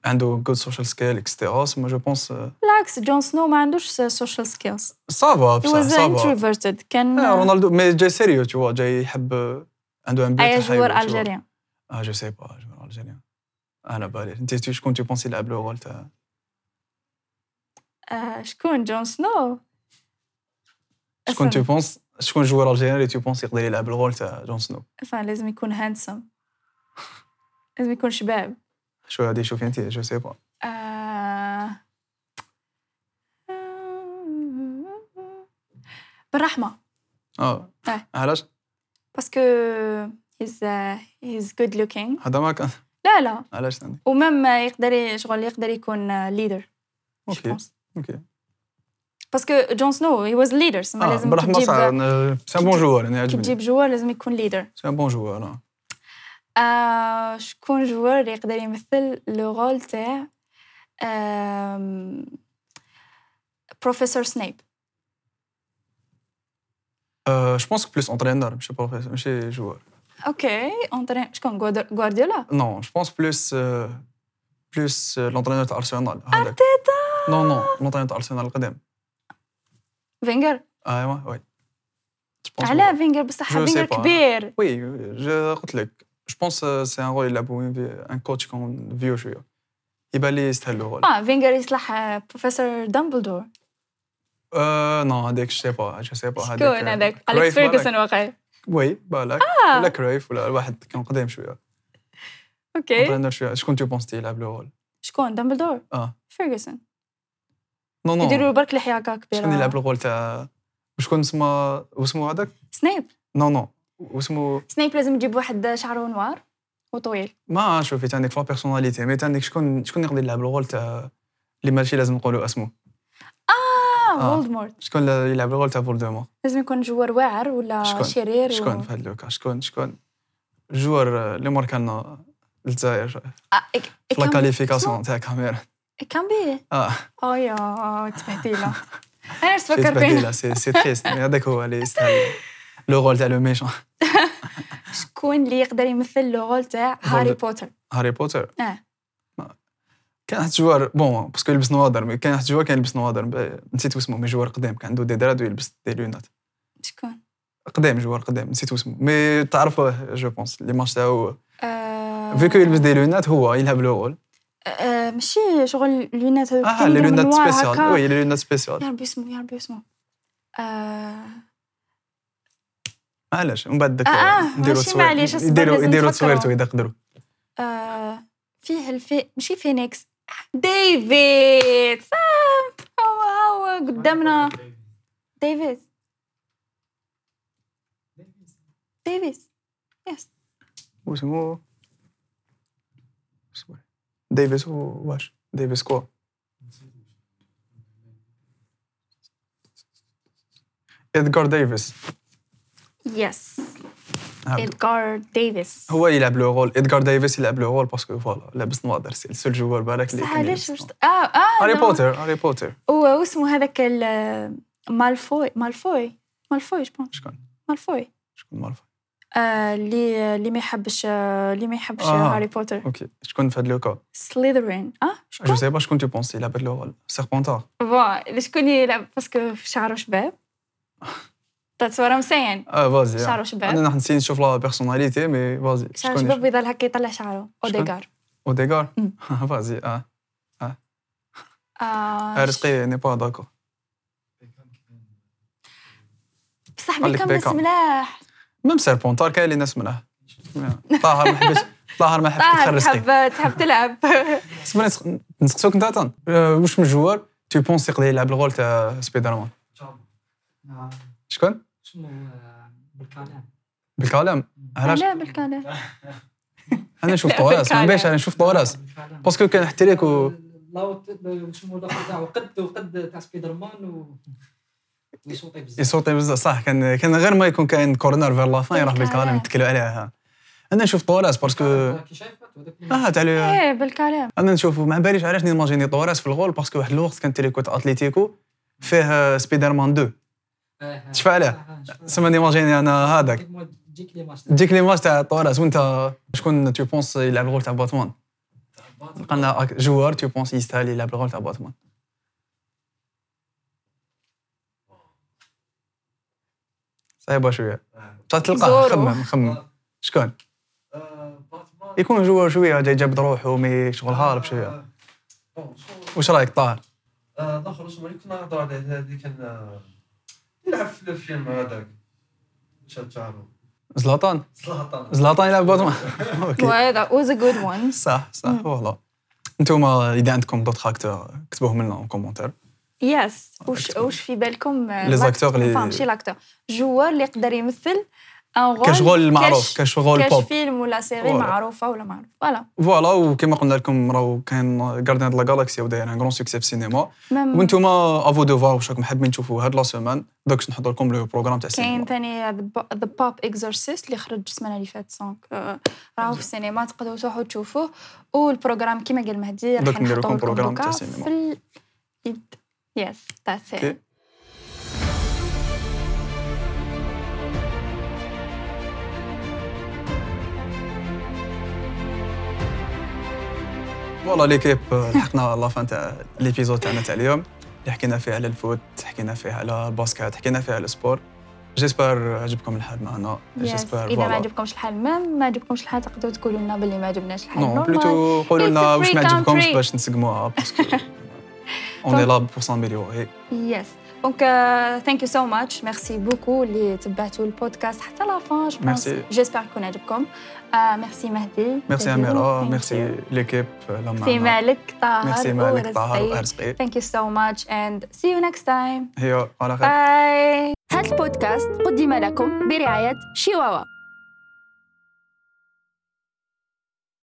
Speaker 3: عنده جود سوشيال سكيل اكسترا سما جو بونس
Speaker 2: بالعكس جون سنو ما عندوش سوشيال سكيلز
Speaker 3: سافا
Speaker 2: هي واز
Speaker 3: سافا
Speaker 2: انتروفيرتد كان
Speaker 3: رونالدو مي جاي سيريو تو جاي يحب آه، عنده ان بيت
Speaker 2: اي
Speaker 3: تاع حيوة،
Speaker 2: جوار
Speaker 3: tu vois. Ah,
Speaker 2: الجيريان
Speaker 3: اه جو سي با جوار الجيريان انا بالي انت tu- شكون تو بونسي يلعب لو غول تاع
Speaker 2: آه، شكون جون سنو
Speaker 3: شكون
Speaker 2: أصلاً.
Speaker 3: تو بونس شكون جوار الجيران اللي تو بونس يقدر يلعب الرول تاع جون سنو
Speaker 2: فان لازم يكون هاندسم لازم يكون شباب
Speaker 3: شو هادي شوفي انت جو سي با
Speaker 2: آه... آه، بالرحمة
Speaker 3: اه
Speaker 2: آه.
Speaker 3: علاش
Speaker 2: باسكو he's uh, he's good looking
Speaker 3: هذا ما كان
Speaker 2: لا لا
Speaker 3: علاش ثاني
Speaker 2: ومام يقدر شغل يقدر يكون ليدر
Speaker 3: اوكي اوكي
Speaker 2: باسكو جون سنو هي واز ليدر سما
Speaker 3: اه
Speaker 2: لازم
Speaker 3: برحمه
Speaker 2: تجيب
Speaker 3: صعب سي بون جوار انا
Speaker 2: كي
Speaker 3: عجبني
Speaker 2: تجيب جوار لازم يكون ليدر
Speaker 3: سي بون جوار آه.
Speaker 2: آه شكون جوار اللي يقدر يمثل لو رول تاع آم، بروفيسور سنيب
Speaker 3: آه، جو بونس بلوس اونترينور ماشي بروفيسور ماشي جوار
Speaker 2: اوكي اونترين شكون غوار- غوارديولا
Speaker 3: نو جو بونس بلوس آه، بلوس آه، لونترينور تاع ارسنال هذاك
Speaker 2: ارتيتا
Speaker 3: نو نو لونترينور تاع ارسنال القديم
Speaker 2: فينغر
Speaker 3: ايوا وي جو بونس
Speaker 2: على فينغر بصح
Speaker 3: جو
Speaker 2: فينغر
Speaker 3: سي با.
Speaker 2: كبير
Speaker 3: وي جو قلت لك جو بونس سي ان رول يلعبو ان كوتش كون فيو شويه يبان لي يستاهل الرول
Speaker 2: اه فينغر يصلح آه، بروفيسور دامبلدور
Speaker 3: آه، نو هذاك جو سي با جو سي با هذاك
Speaker 2: شكون هذاك اليكس فيرغسون واقع
Speaker 3: وي بالك
Speaker 2: آه.
Speaker 3: ولا كرويف ولا واحد كان قديم شويه
Speaker 2: اوكي
Speaker 3: انترينر شويه شكون تو بونس يلعب لو رول
Speaker 2: شكون دامبلدور
Speaker 3: اه
Speaker 2: فيرغسون
Speaker 3: نو نو
Speaker 2: يديروا برك لحيه هكا
Speaker 3: شكون يلعب
Speaker 2: كبيره
Speaker 3: الغول تاع وشكون اسمه واسمه هذاك
Speaker 2: سنيب
Speaker 3: نو نو واسمه
Speaker 2: سنيب لازم تجيب واحد شعره نوار وطويل
Speaker 3: ما شوفي تاع عندك فوا بيرسوناليتي مي تاع عندك شكون شكون يقدر يلعب الغول تاع اللي ماشي لازم نقولوا اسمه
Speaker 2: اه
Speaker 3: آه.
Speaker 2: فولدمورت
Speaker 3: شكون اللي يلعب الغول تاع فولدمور
Speaker 2: لازم يكون جوار واعر ولا
Speaker 3: شكون؟
Speaker 2: شرير و-
Speaker 3: شكون في هاد لوكا شكون شكون جوار اللي ماركا لنا الجزائر في
Speaker 2: آه، إك- إك-
Speaker 3: لا
Speaker 2: كان-
Speaker 3: كاليفيكاسيون تاع كاميرون
Speaker 2: إك- كان بيه
Speaker 3: اه
Speaker 2: اه يا تبهديله انا اش
Speaker 3: شي
Speaker 2: تفكر فينا
Speaker 3: تبديله سي سي تريست مي هذاك هو اللي يستاهل لو غول تاع لو ميشون
Speaker 2: شكون اللي يقدر يمثل لو رول تاع هاري بوتر
Speaker 3: هاري بوتر
Speaker 2: اه
Speaker 3: كان واحد الجوار بون باسكو يلبس نوادر مي كان واحد الجوار كان يلبس نوادر ب- نسيت اسمه مي جوار قديم كان عنده دي دراد ويلبس دي لونات
Speaker 2: شكون
Speaker 3: قديم جوار قديم نسيت اسمه مي تعرفوه جو بونس لي ماتش تاعو
Speaker 2: آه،
Speaker 3: فيكو يلبس دي لونات هو يلعب لو غول
Speaker 2: آه، ماشي شغل لونات هذوك
Speaker 3: اه لي لونات سبيسيال وي لي لونات سبيسيال
Speaker 2: يا ربي اسمه يا ربي اسمه آه،
Speaker 3: علاش من بعد داك
Speaker 2: آه، آه،
Speaker 3: نديرو
Speaker 2: ماشي
Speaker 3: تصوير
Speaker 2: معليش، أصبر
Speaker 3: يديروا
Speaker 2: لازم
Speaker 3: يديروا
Speaker 2: نفكروا.
Speaker 3: تصويرته اذا قدروا
Speaker 2: آه، فيه الفي ماشي فينيكس ديفيد آه، هو هو قدامنا ديفيد ديفيد يس
Speaker 3: واسمو صبر. ديفيس هو- واش ديفيس كوا ادغار ديفيس
Speaker 2: يس
Speaker 3: عبدو.
Speaker 2: ادغار ديفيس
Speaker 3: هو يلعب لو رول ادغار ديفيس يلعب لو رول باسكو فوالا لابس نوادر سي السول جوار بالك اللي
Speaker 2: بصح
Speaker 3: كان
Speaker 2: علاش
Speaker 3: يلبس
Speaker 2: واش
Speaker 3: نوادر.
Speaker 2: اه اه
Speaker 3: هاري
Speaker 2: لا.
Speaker 3: بوتر هاري بوتر
Speaker 2: هو واسمه هذاك ال- مالفوي مالفوي مالفوي جبون
Speaker 3: شكون
Speaker 2: مالفوي
Speaker 3: شكون معرف
Speaker 2: آه، اللي اللي ما يحبش آه، اللي ما يحبش
Speaker 3: آه.
Speaker 2: هاري بوتر
Speaker 3: اوكي شكون في هاد لو كا
Speaker 2: سليذرين اه
Speaker 3: جو
Speaker 2: شكون
Speaker 3: سي با شكون تو بونسي يلعب هاد لو رول سيربونتار
Speaker 2: بون شكون يلعب باسكو شعره شباب That's what I'm saying
Speaker 3: اه فازي آه.
Speaker 2: شعره شباب
Speaker 3: انا راح نسيت نشوف لا بيرسوناليتي مي فازي
Speaker 2: شعره
Speaker 3: شكون
Speaker 2: شباب يضل هكا يطلع شعره
Speaker 3: شكون؟
Speaker 2: اوديغار
Speaker 3: اوديغار
Speaker 2: مم.
Speaker 3: فازي اه
Speaker 2: آه،
Speaker 3: Ah, رزقي ني با داكور
Speaker 2: بصح
Speaker 3: قال لك
Speaker 2: بيكم
Speaker 3: بيكام.
Speaker 2: ملاح
Speaker 3: ميم سيربونتار كاين اللي ناس منه طاهر ما حبش طاهر ما حبش
Speaker 2: طاهر
Speaker 3: تخرج رزقي
Speaker 2: تحب تحب تلعب
Speaker 3: اسمعني نسق- نسقسوك انت عطان أه، واش من جوار تو بونس يقدر يلعب الغول تاع سبايدر مان شكون
Speaker 4: شنو آه، بالكلام
Speaker 3: بالكلام علاش
Speaker 2: لا بالكلام
Speaker 3: انا نشوف
Speaker 2: لا،
Speaker 3: طوراس ما
Speaker 2: بالكلام.
Speaker 3: باش انا نشوف طوراس باسكو كان احتراك و
Speaker 4: لا شنو الاخر تاعو قد وقد تاع سبايدر مان و ويصوتي بزاف
Speaker 3: يصوتي بزاف صح كان كان غير ما يكون كاين كورنر فير لافان يروح
Speaker 2: بالكلام.
Speaker 3: بالكلام يتكلوا عليها انا نشوف طوراس باسكو اه
Speaker 4: كي شايف هذاك
Speaker 3: تاع لو-
Speaker 2: ايه بالكلام
Speaker 3: انا نشوف ما باليش علاش نيماجيني طوراس في الغول باسكو واحد الوقت كان تيليكوت اتليتيكو فيه آه، سبايدر مان 2
Speaker 4: آه،
Speaker 3: شفا عليه؟ سما نيماجيني انا هذاك
Speaker 4: تجيك لي ماتش
Speaker 3: ديك ليماج تاع طوراس وانت شكون تو بونس يلعب الغول تاع باتمان قلنا أك- جوار تو بونس يستاهل يلعب الغول تاع باتمان صعيبه شويه
Speaker 2: زورو.
Speaker 3: تلقاه خمم خمم شكون
Speaker 4: آه،
Speaker 3: يكون جوار شويه جاي جابد روحه مي شغل هارب شويه واش رايك طاهر
Speaker 5: آه، الاخر اسمه اللي كنا نهضر عليه هذه كان آه، يلعب في آه، في الفيلم هذاك شاد شعره
Speaker 3: زلاطان
Speaker 5: زلاطان
Speaker 3: زلاطان يلعب باتمان اوكي
Speaker 2: that was a good one
Speaker 3: صح صح فوالا انتوما اذا عندكم دوت اكتور كتبوهم لنا اون كومونتير
Speaker 2: يس وش وش في بالكم
Speaker 3: Les acteurs, les-
Speaker 2: ماشي لاكتور جوار اللي يقدر يمثل ان
Speaker 3: كشغل معروف كشغل
Speaker 2: كاش
Speaker 3: بوب
Speaker 2: فيلم ولا سيري
Speaker 3: Voilà.
Speaker 2: معروفه ولا معروف فوالا
Speaker 3: فوالا وكما قلنا لكم راهو كان غارديان دو لا غالاكسي وداير ان غران سوكسي في السينما
Speaker 2: ميم
Speaker 3: وانتوما افو دو فوار واش راكم حابين تشوفوا هاد لا سومان دوك باش نحضر لكم لو بروغرام تاع
Speaker 2: كاين
Speaker 3: السينما
Speaker 2: ثاني ذا باب اكزورسيست اللي خرج السمانه اللي فاتت دونك آه، راهو في السينما تقدروا تروحوا تشوفوه والبروغرام كيما قال مهدي
Speaker 3: دوك
Speaker 2: راح
Speaker 3: ندير
Speaker 2: نحطوه
Speaker 3: لكم بروغرام
Speaker 2: دوكا
Speaker 3: تاع السينما.
Speaker 2: في ال... يس ذاتس
Speaker 3: Okay.
Speaker 2: ات
Speaker 3: فوالا ليكيب آه، لحقنا لا فان تاع ليبيزود تاعنا تاع اليوم اللي حكينا فيه على الفوت حكينا فيه على الباسكت حكينا فيه على السبور جيسبر عجبكم الحال معنا جيسبر
Speaker 2: اذا ما
Speaker 3: فوالا
Speaker 2: عجبكمش الحال ميم ما عجبكمش الحال تقدروا تقولوا لنا باللي ما عجبناش الحال
Speaker 3: نو
Speaker 2: Normal.
Speaker 3: بلوتو قولوا
Speaker 2: It's
Speaker 3: لنا
Speaker 2: a
Speaker 3: واش ما
Speaker 2: free
Speaker 3: عجبكمش
Speaker 2: country.
Speaker 3: باش نسقموها باسكو اون اي لا بور سامبيليوري
Speaker 2: يس دونك ثانك يو سو ماتش ميرسي بوكو اللي تبعتوا البودكاست حتى لا فان جو بونس
Speaker 3: Merci.
Speaker 2: جيسبر يكون عجبكم ميرسي مهدي
Speaker 3: ميرسي
Speaker 2: Thank you.
Speaker 3: اميره
Speaker 2: Thank
Speaker 3: ميرسي
Speaker 2: you.
Speaker 3: ليكيب اللي معنا.
Speaker 2: سي مالك طاهر
Speaker 3: ميرسي
Speaker 2: Oh,
Speaker 3: مالك طاهر
Speaker 2: ورزقي.
Speaker 3: وارزقي
Speaker 2: Thank you so much and see you next time.
Speaker 3: هي على خير
Speaker 2: Bye.
Speaker 1: هذا البودكاست قدم لكم برعاية شيواوا